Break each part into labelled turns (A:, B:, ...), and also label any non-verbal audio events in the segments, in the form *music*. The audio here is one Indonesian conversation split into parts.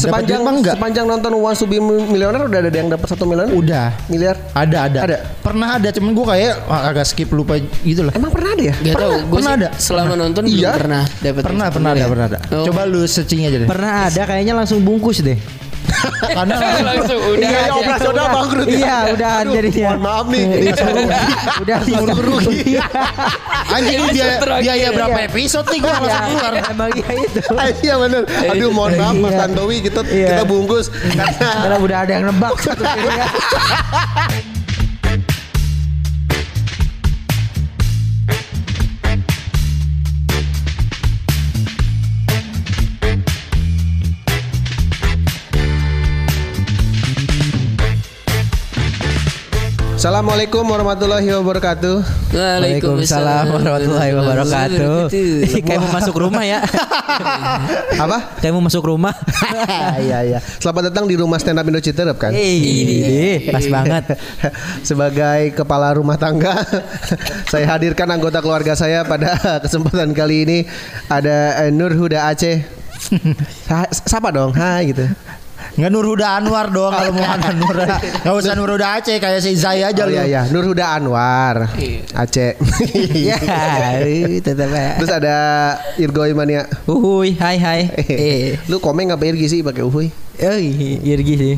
A: Sepanjang
B: duit apa enggak?
A: sepanjang nonton One to Be Millionaire udah ada yang dapat satu miliar?
B: Udah.
A: miliar.
B: Ada ada.
A: Ada.
B: Pernah ada cuman gue kayak agak skip lupa gitu lah.
A: Emang pernah ada ya?
C: Gak tau, gue
B: pernah ada?
C: selama nonton
A: Iya.
C: belum pernah dapat.
B: Pernah
C: yang
B: pernah ada
C: sepenuhnya.
B: pernah ada.
C: Oh.
B: Coba lu searching aja deh.
D: Pernah ada kayaknya langsung bungkus deh.
B: Karena
C: *laughs* langsung udah
A: Iya,
C: aja. *laughs*
A: operasional bangkrut. ya.
D: Iya, udah jadinya.
A: Mohon maaf nih, jadi suruh.
D: Udah
B: Suruh rugi. anjing
C: Episode
B: biaya
C: terakhir.
B: biaya berapa episode nih gue langsung keluar.
D: Emang iya *laughs* itu.
A: Ah, Iya benar. Aduh mohon maaf Mas
D: Iya.
A: Tantowi kita
D: Iya.
A: kita bungkus karena
D: Karena udah ada yang nebak satu ya. kirinya.
A: Assalamualaikum warahmatullahi wabarakatuh.
D: Waalaikumsalam warahmatullahi wabarakatuh. Ih, Kayak mau masuk rumah ya.
A: Apa?
D: Kayak mau masuk rumah.
A: Iya iya. Selamat datang di rumah stand up Indo Citerep kan?
D: Iya, Ih, pas banget.
A: *laughs* Sebagai kepala rumah tangga, *laughs* saya hadirkan anggota keluarga saya pada *laughs* kesempatan kali ini ada eh, Nur Huda Aceh. Sa- Sapa dong, hai gitu.
B: Nggak Nur Huda Anwar dong kalau mau ada Nur. Enggak usah Nur Huda Aceh kayak si Zai aja
A: Oh,
B: lu.
A: iya, iya. Nur Huda Anwar, Aceh.
D: *laughs* Ya, tetap
A: *laughs* Terus ada Irgoy Mania.
D: Uhuy, hai hai. Eh,
A: Eh, *laughs* lu komen nggak Irgi sih pakai uhuy?
D: eh, Irgi sih.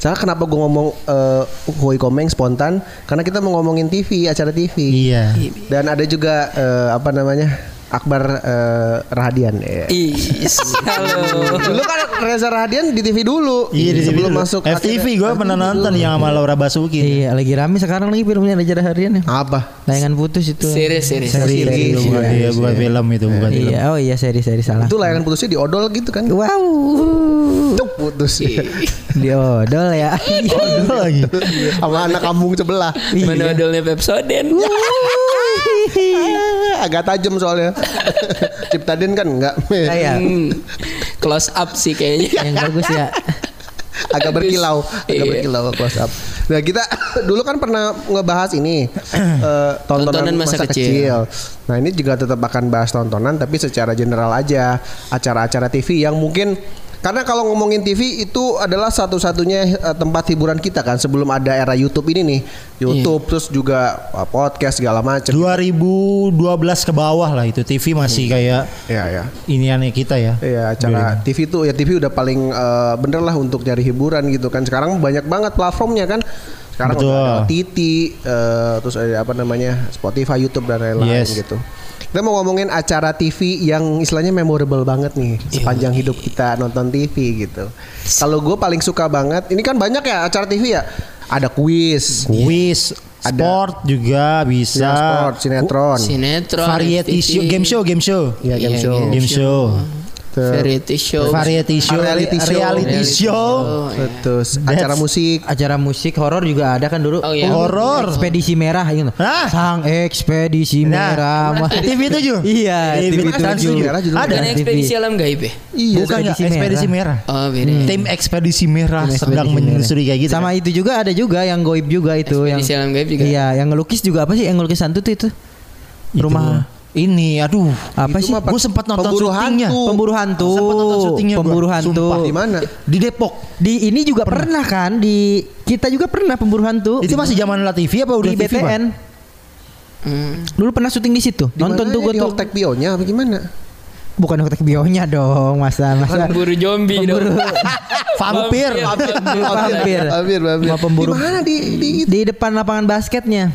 A: Salah kenapa gue ngomong eh, uhuy komeng spontan? Karena kita mau ngomongin TV, acara TV.
B: Iya.
A: Dan ada juga eh, apa namanya? Akbar eh, Rahadian ya.
D: Iya.
C: Is, halo.
A: Dulu kan Reza Rahadian di TV dulu.
B: Iya di
A: sebelum
B: dulu.
A: masuk
B: FTV
A: akhirnya-
B: gue pernah nonton yang sama Laura Basuki.
D: Iya, lagi rame sekarang lagi filmnya Raja Harian ya.
A: apa?
D: Layangan putus itu.
C: Series, series.
D: Seri,
A: Series.
D: seri.
B: Itu iya, bukan iya, bukan film itu bukan film.
D: Iya, oh iya seri seri salah.
A: Itu layanan putusnya diodol gitu kan.
D: Wow.
A: Tuk putus.
D: Diodol ya.
B: Itu lagi.
A: Sama anak kampung sebelah.
B: Iya.
C: Menodolnya Pepsoden.
B: Ya.
A: Agak tajam soalnya. Ciptaden kan enggak.
D: Kayak
C: Hmm. Close up sih kayaknya.
D: Iya. yang bagus ya.
A: agak berkilau,
C: Iya.
A: agak berkilau close up. Nah kita *clears throat* dulu kan pernah ngebahas ini *clears throat* eh, tontonan,
C: Tontonan
A: masa,
C: masa
A: kecil. Nah ini juga tetap akan bahas tontonan tapi secara general aja acara-acara TV yang mungkin karena kalau ngomongin TV itu adalah satu-satunya eh, tempat hiburan kita kan sebelum ada era YouTube ini nih YouTube terus juga eh, podcast segala macam.
B: 2012 ke bawah lah itu TV masih kayak
A: Iya ya.
B: iniannya kita ya.
A: Iya, acara TV itu ya TV udah paling eh, bener lah untuk nyari hiburan gitu kan. Sekarang banyak banget platformnya kan. Sekarang
B: Betul.
A: udah ada OTT, eh, terus ada apa namanya Spotify, YouTube dan lain-lain
B: Yes.
A: gitu. Kita mau ngomongin acara TV yang istilahnya memorable banget nih sepanjang hidup kita nonton TV gitu. Kalau gue paling suka banget, ini kan banyak ya acara TV ya. Ada kuis,
B: Kuis,
A: Ada.
B: sport juga bisa.
A: ya, sport, sinetron,
C: Sinetron.
B: variety
C: FTV.
B: show, game show, game show.
A: Iya, game
C: Iya,
A: show.
B: Game show.
A: ter-
C: Variety show.
B: Variety show,
A: Reality show.
B: reality show.
A: terus acara
B: That's-
A: musik.
D: Acara musik horor juga ada kan dulu.
C: Oh, iya.
B: Horor.
D: Ekspedisi merah gitu.
B: Hah?
D: Sang ekspedisi
B: Nah.
D: merah. Wah.
B: TV 7.
D: Iya,
B: TV
D: TV
B: Trans
A: tujuh.
B: 7.
A: Ada.
B: Ada.
C: Bukan ekspedisi alam gaib ya?
B: Iya, Bukan
D: Ekspedisi
B: nggak, ekspedisi merah.
C: Oh beda.
B: Tim ekspedisi merah
D: Ekspedisi
B: sedang
D: merah.
B: menyusuri kayak gitu.
D: Sama itu juga ada juga yang goib juga itu yang
C: Ekspedisi alam gaib juga.
D: Iya, yang ngelukis juga apa sih? Yang ngelukis hantu tuh itu.
B: Itu.
D: Rumah
B: ini aduh
D: apa
A: Itu
D: sih?
A: mah
B: Gua sempat nonton
A: pemburu
B: syutingnya.
A: hantu.
D: Pemburu hantu.
B: Sempat nonton syutingnya gua.
D: Pemburu hantu.
A: Sumpah, di mana?
B: di Depok
D: Di ini juga pernah, kan di kita juga pernah pemburu hantu.
B: itu masih zaman La TV apa udah
D: Oh, di
B: TV, Pak?
D: BTN.
C: Hmm.
D: Dulu pernah syuting di situ. Nonton
B: ya?
D: tuh gue tuh.
A: Hotek Pionya apa gimana?
D: Bukan hotek bionya dong, masa masa
C: Pemburu zombie dong.
B: vampir
C: Vampir.
D: Vampir.
A: Vampir, vampir.
D: Sama pemburu.
A: Di mana di di
D: di depan lapangan basketnya.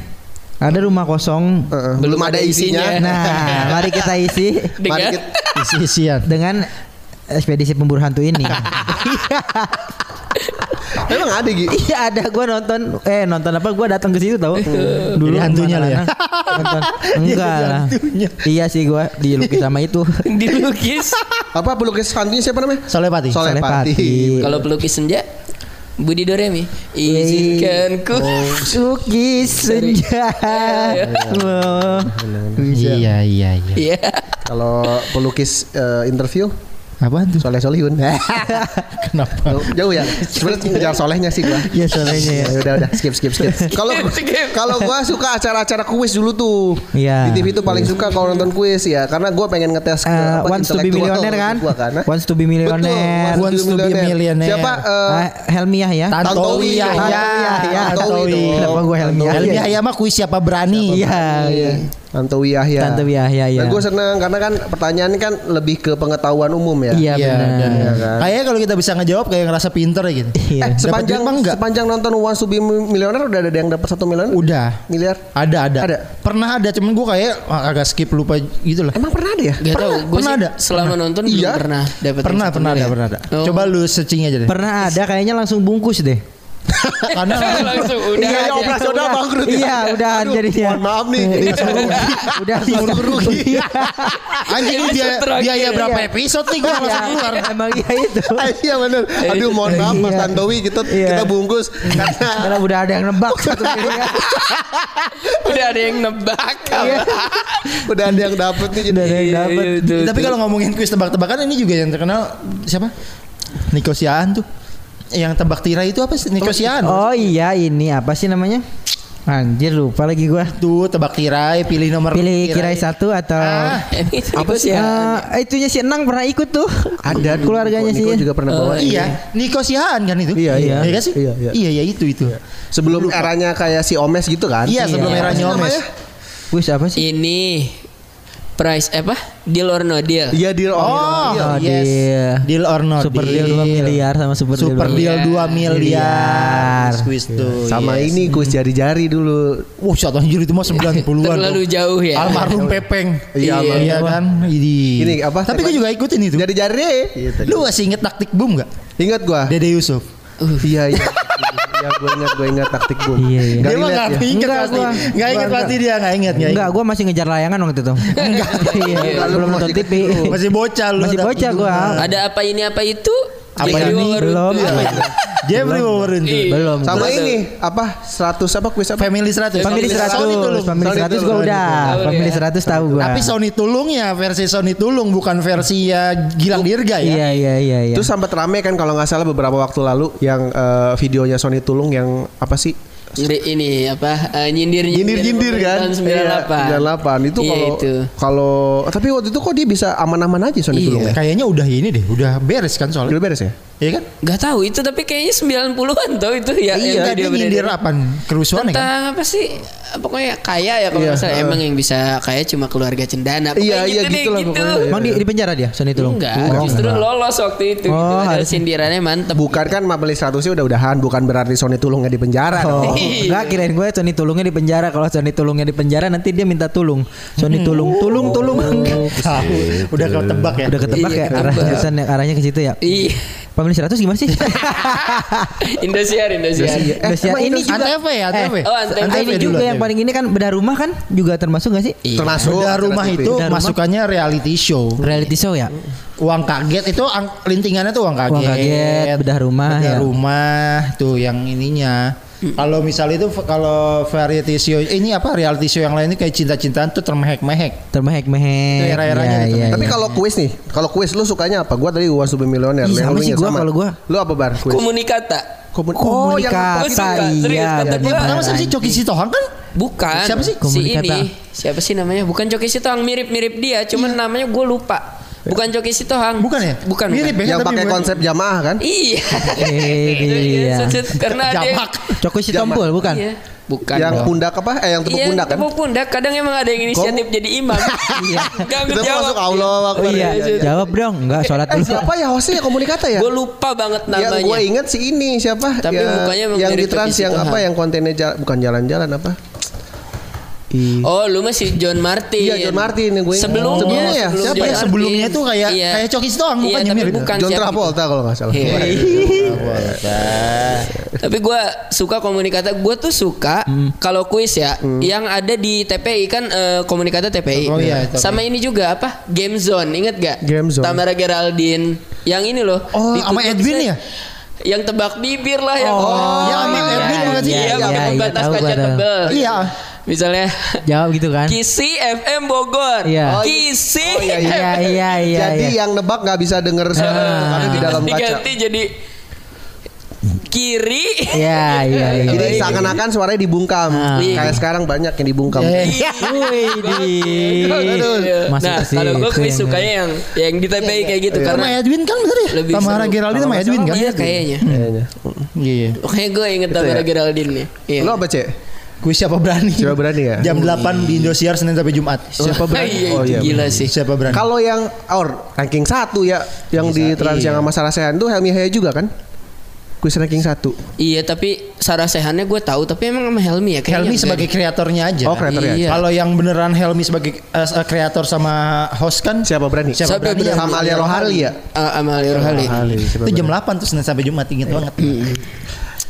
D: Ada rumah kosong.
A: Eh, belum ada isinya.
D: Nah, mari kita isi
A: Mari
C: Dengan
A: kita-
B: isi-isian
D: dengan ekspedisi pemburu hantu ini.
A: *laughs* Emang ada gitu.
D: Iya ada gue nonton eh nonton apa gue datang ke situ tahu
B: Jadi hantunya lu ya?
D: anak-anak
A: *laughs*
D: nonton enggak
B: jadi
D: lah
B: hantunya.
D: iya sih gue dilukis sama itu
B: *laughs*
C: dilukis.
A: Apa pelukis hantunya siapa namanya?
B: Solepati
A: Solepati.
D: Solepati.
C: *laughs* Kalau pelukis senja Budi Doremi Izinkan ku
B: Oh.
C: *laughs*
D: lukis Iya. senja
B: iya iya iya
C: Iya
A: Kalau pelukis eh, interview
B: Apaan tuh?
A: Soleh
D: *laughs*
A: Solihun.
B: Kenapa?
A: Jauh ya. Sebenarnya ngejar solehnya sih gua.
D: Iya,
B: Ya solehnya ya.
A: Ya udah udah skip skip
D: *laughs*
A: skip. Kalau kalau gua suka acara-acara kuis dulu tuh.
D: Iya.
A: Di TV tuh paling suka kalau nonton kuis ya karena gua pengen ngetes ke
D: Eh,
A: apa,
D: wants to be
A: intelektual
D: millionaire kan?
A: gua kan. eh?
D: Wants to be
A: Betul,
D: millionaire.
B: Wants to be millionaire.
A: Siapa? eh,
D: Ah, Helmiah ya.
B: Tan-
A: Tantowi.
B: Tantowi,
A: dong.
B: ya,
A: Tantowi.
B: ya,
A: Tantowi.
D: Tantowi.
A: dong.
D: Kenapa gua Helmiah?
B: Helmi
A: Tantowi.
B: Yahya mah kuis siapa berani.
D: Iya.
A: Iya. Tantowi Yahya.
D: Tantowi Yahya, iya.
A: Dan gue seneng karena kan pertanyaannya kan lebih ke pengetahuan umum ya.
D: Iya
B: Iya,
D: benar.
B: benar.
A: kan?
B: Kayaknya kalau kita bisa ngejawab kayak ngerasa pinter ya gitu.
D: Iya.
A: Eh,
B: Dapat
A: sepanjang
B: duit mah enggak?
A: sepanjang nonton Wants to be Millionaire udah ada yang dapat satu miliar?
B: Udah.
A: Miliar.
B: Ada, ada.
A: Ada.
B: Pernah ada, cuman gue kayak agak skip lupa gitu lah.
A: Emang pernah ada ya?
C: Gak tau, gue
B: pernah
C: sih
B: ada?
C: selama nonton belum
A: Iya.
C: pernah ya? dapat
B: Pernah, pernah ada, pernah ada.
C: Oh.
B: Coba lu searching aja deh.
D: Pernah ada kayaknya langsung bungkus deh.
B: *laughs*
C: *laughs*
B: Karena
C: *laughs* langsung udah
A: Iya,
C: aja.
A: ya, operasional
D: udah.
A: bangkrut.
D: Iya, udah
A: Aduh,
D: jadinya.
A: Mohon maaf nih.
D: Eh, iya,
A: *laughs*
D: Udah iya. rugi.
B: anjing ini biaya,
C: Terakhir.
B: biaya berapa episode nih gue langsung keluar.
D: Emang *laughs* iya
A: *laughs*
D: itu.
A: Ah, Iya benar. Aduh mohon maaf Mas
D: Iya.
A: Tantowi kita
D: Iya.
A: kita bungkus *laughs* karena
D: Karena udah ada yang
A: *laughs*
D: nebak satu ya. miliar.
C: Udah ada yang
B: *laughs*
C: nebak
B: Iya,
A: udah ada yang dapet nih jadi.
D: Udah ada yang
C: Iya,
D: dapat.
C: iya, betul,
B: Tapi
C: betul.
B: *laughs* kalau ngomongin kuis tebak-tebakan ini juga yang terkenal siapa? Niko Siahaan tuh. Yang tebak tirai itu apa sih? Niko Siahaan.
D: Oh iya ini apa sih namanya? Anjir lupa lagi gua.
B: Tuh tebak tirai, pilih nomor
D: Pilih kirai satu atau
B: Ah,
C: Ini
D: apa sih?
C: Ah.
D: Eh, itunya si Enang pernah ikut tuh.
A: ya?
D: *laughs*
A: Ada dulu,
D: keluarganya
A: Niko
D: sih. ya.
A: juga pernah bawa. ini.
B: Iya, Niko Siahaan kan itu?
A: Oh, Iya, iya.
B: kan sih?
A: Iya, iya.
B: Iya, iya itu itu.
A: Sebelum eranya kayak si Omes gitu kan?
B: Iya, sebelum
D: Iya.
B: era
A: Apa sih
B: Nyomes.
A: namanya?
D: Wis apa sih?
C: Ini Price apa? Deal or no deal
A: Iya di
B: Oh,
D: Oh,
B: yes.
D: deal.
B: Deal or not
D: Super deal 2 miliar sama super,
B: Super
D: deal.
B: deal 2 miliar.
D: Miliar.
B: Kuis tuh.
A: sama
B: Oh, yes.
A: ini kuis jari-jari dulu.
B: Wah, shot anjir itu mah
C: *laughs*
B: 90-an.
C: Terlalu
B: tuh.
C: jauh ya
B: Almarhum Pepeng.
A: Iya,
B: iya kan? Ini.
A: Ini apa?
B: Tapi gue juga ikutin itu.
A: Jari-jari. Gitu.
B: Lu masih inget taktik boom gak?
A: Ingat gua.
B: Dede Yusuf.
A: Iya iya. Iya gue ingat gue ingat taktik boom.
D: Iya, iya.
A: Nggak
B: dia mah
A: relate
B: gak
A: ya.
B: inget
D: Enggak,
B: pasti.
D: gua.
B: Gak inget pasti dia gak inget. nggak
D: Enggak, gua masih ngejar layangan waktu itu. Enggak. iya,
A: Enggak, lu
D: belum
A: masih
D: nonton
A: kecil
D: TV.
B: inget. Masih bocah lu.
D: Masih
B: ada
D: bocah gua.
B: keuntungan.
C: Ada apa ini apa itu?
B: Apa
C: Jeffrey
B: ini?
C: Wawaruntu.
D: Belum. Iya.
B: Jeffrey Wawaruntu.
C: Iya.
D: Belum.
A: Sama ini apa 100 apa kuis apa?
B: Family 100.
D: Family
B: Sony Tulung.
D: 100, Family
A: Sony
D: 100 gua
A: Tulung.
D: udah.
C: Tahu
D: Family
C: ya.
D: 100 tahu gua.
B: Tapi Sony Tulungnya versi Sony Tulung bukan versi ya Gilang Dirga ya.
D: Iya, iya, iya, iya.
A: Terus sempat rame kan kalau nggak salah beberapa waktu lalu yang eh, videonya Sony Tulung yang apa sih?
C: Ngeri- ini apa eh, nyindir
A: Jindir-jindir kan?
C: tahun 98
A: Iya, 98. Itu
C: Iya,
A: kalau
C: itu.
A: kalau tapi waktu itu kok dia bisa aman-aman aja Sony
C: Iya.
A: Tulung ya?
B: Kayaknya udah ini deh, udah beres kan soalnya.
A: Udah beres ya?
B: Iya kan?
C: Gak tahu itu tapi kayaknya 90-an tuh itu ya. yang
B: Iya,
C: video
B: dia nyindir
C: beredar.
B: apa? Kerusuhan ya kan?
C: Tentang apa sih? Pokoknya kaya ya kalau
A: Iya,
C: nggak salah
A: heeh.
C: emang yang bisa kaya cuma keluarga cendana. Pokoknya
A: Iya, iya,
C: deh,
A: gitu lah pokoknya.
D: Emang di, di penjara dia Sony Tulung?
C: Enggak,
D: Oh,
C: justru
D: enggak.
C: lolos waktu itu.
D: Oh,
C: gitu. Ada
D: harusnya.
C: sindirannya mantep.
A: Bukan kan Mabeli 100 sih udah-udahan bukan berarti Sony Tulungnya di penjara. dong.
D: Oh, enggak kirain gue Sony Tulungnya di penjara. Kalau Sony Tulungnya di penjara nanti dia minta tulung.
C: Hmm.
D: Sony Tulung, tulung, tulung.
B: Tahu, udah ketebak ya.
D: Iya, Udah ketebak
C: Iya,
D: ya arah
C: ketebak.
D: jurusan yang arahnya ke situ ya.
C: Iya. *laughs*
D: Pemilih 100 gimana sih?
C: Indosiar, Indosiar.
A: Indosiar. Eh,
D: Indosiar.
A: emang
D: ini
A: Indos-
D: juga
B: ATV ya, ATV.
C: Oh, ATV.
D: Ah, ini
B: dulu,
D: juga
B: ATV.
D: yang paling ini kan bedah rumah kan juga termasuk gak sih?
C: Iya.
A: Termasuk
B: Bedah rumah
A: acara TV.
B: itu
D: Bedah rumah.
B: masukannya reality show.
D: Reality show ya?
B: Uang kaget itu ang- lintingannya tuh uang kaget.
D: Uang kaget, bedah rumah
B: Bedah
D: ya.
B: rumah tuh yang ininya. Kalau misalnya itu kalau variety show ini apa reality show yang lain ini kayak cinta-cintaan tuh termehek-mehek.
D: Termehek-mehek.
B: Itu era-eranya
D: Iya,
B: tuh,
D: iya,
A: Tapi
D: iya.
A: kalau kuis nih, kalau kuis lu sukanya apa? Gua tadi Wants to be Millionaire.
D: Ih,
A: Yang
D: sama
A: lu
D: sih
A: ingat
D: gua kalau gua.
A: Lu apa bar? Kuis.
C: Komunikata.
A: Komun-
D: Oh,
A: yang
D: Komunikata,
C: Gua suka, serius,
D: iya.
C: kata
B: Yang
C: gua.
B: pertama siapa sih Coki Sitohang kan?
C: Bukan.
B: Siapa sih?
C: Si
D: Komunikata.
C: ini. Siapa sih namanya? Bukan Coki Sitohang, mirip-mirip dia,
A: Iya.
C: cuman namanya gue lupa. Bukan Coki Sitohang.
B: Bukan ya?
C: Bukan.
B: Mirip
C: bukan.
B: ya?
A: yang
B: tapi
A: pakai
B: bukan.
A: konsep jamaah kan?
C: *laughs* Iya.
D: Eh, iya.
C: Karena dia
B: Jamak.
D: Coko Sitompul bukan?
C: Iya.
B: kan,
C: Bukan.
A: yang
C: dong.
A: pundak apa? Eh yang tepuk
C: Iya,
A: pundak kan?
C: tepuk pundak. Kadang emang ada yang inisiatif jadi imam.
A: *laughs*
C: Iya.
A: Itu masuk Allah
D: Oh, iya. Jawab dong, enggak sholat
A: Eh
D: dulu.
A: siapa ya hostnya ya komunikata ya?
C: Gue lupa banget
A: Ya
C: namanya.
A: gue inget si ini siapa?
C: Tapi
A: Ya,
C: mukanya emang
A: yang
C: mirip
A: di trans
C: Coki
A: yang
C: Sitohang.
A: apa yang kontennya jala- bukan jalan-jalan apa? Ih.
C: Oh, lu masih John Martin.
A: Iya, John Martin yang gua ingat.
C: Sebelumnya,
A: Sebelumnya ya?
C: sebelum
A: Siapa
C: John
A: ya?
C: Martin.
B: Sebelumnya tuh kayak
C: Iya.
B: kayak Coki Sitohang
C: Iya,
B: bukan yang
C: tapi
B: mirip.
C: bukan
A: John
C: siapa.
A: Travolta kalau nggak salah.
C: Iya.
B: Wah,
C: Tapi gue suka komunikata. Gue tuh suka kalau kuis ya, yang ada di TPI kan eh, komunikata TPI.
B: Hmm. Oh iya, TPI.
C: Sama ini juga apa? Game Zone, inget gak?
A: Game Zone.
C: Tamara Geraldine, yang ini loh.
B: Oh,
C: Ditutup
B: sama Edwin
C: bisa-
B: ya?
C: Yang tebak bibir lah yang.
B: ya, sama Edwin bukan sih?
C: Iya,
B: Iya,
C: pakai
D: iya,
C: pembatas
D: tahu gua
C: kaca
D: tahu.
C: tebel.
B: Iya.
C: misalnya
E: Jawab gitu kan?
D: Iya,
C: Kisi FM
B: Oh,
C: Bogor.
E: Iya.
C: Kisi.
A: iya,
E: Iya iya iya.
A: Jadi
D: ya.
E: iya.
A: yang nebak nggak bisa denger suara itu karena di
C: *laughs*
A: dalam kaca.
C: Diganti jadi kiri.
E: Iya iya iya.
A: Jadi seakan-akan suaranya dibungkam.
E: Ah.
A: Kayak sekarang banyak yang dibungkam.
B: Iya, Eh,
D: Iya.
E: Wih, di. Masuk
C: nah,
E: ke situ
C: kalau gue kuis
E: yang-
D: Iya.
C: sukanya yang yang di TPI kayak gitu karena
B: sama Edwin kan bener ya?
C: Lebih
B: Tamara
C: seru.
B: Geraldine sama Edwin kan?
C: iya kayaknya.
A: Kayaknya.
B: Iya.
C: Makanya gue inget Tamara Geraldine nih. Iya.
A: Lo apa, Cek?
B: Kuis siapa berani?
A: Siapa berani ya?
B: Jam 8 di Indosiar Senin sampai Jumat. Siapa
C: Ah,
B: berani?
C: *laughs* Iya,
A: Oh,
C: itu
A: iya,
C: gila sih.
B: Siapa berani?
A: Kalau yang or ranking 1 ya yang di trans yang sama Sarah Sehan tuh Helmi Haya juga kan? Kuis ranking 1.
C: Iya, tapi Sarah Sehannya gue tahu, tapi emang sama Helmi ya kayaknya.
B: Helmi
C: enggak
B: sebagai
C: deh.
B: kreatornya aja.
A: Oh, kreatornya
C: Iya.
B: Kalau yang beneran Helmi sebagai eh, eh, kreator sama host kan
A: Siapa berani?
B: Siapa
C: Siapa
B: berani?
C: berani?
A: Sama Alia Rohali ya?
C: Ah, sama Alia Rohali.
B: Itu jam 8 tuh Senin sampai Jumat inget banget.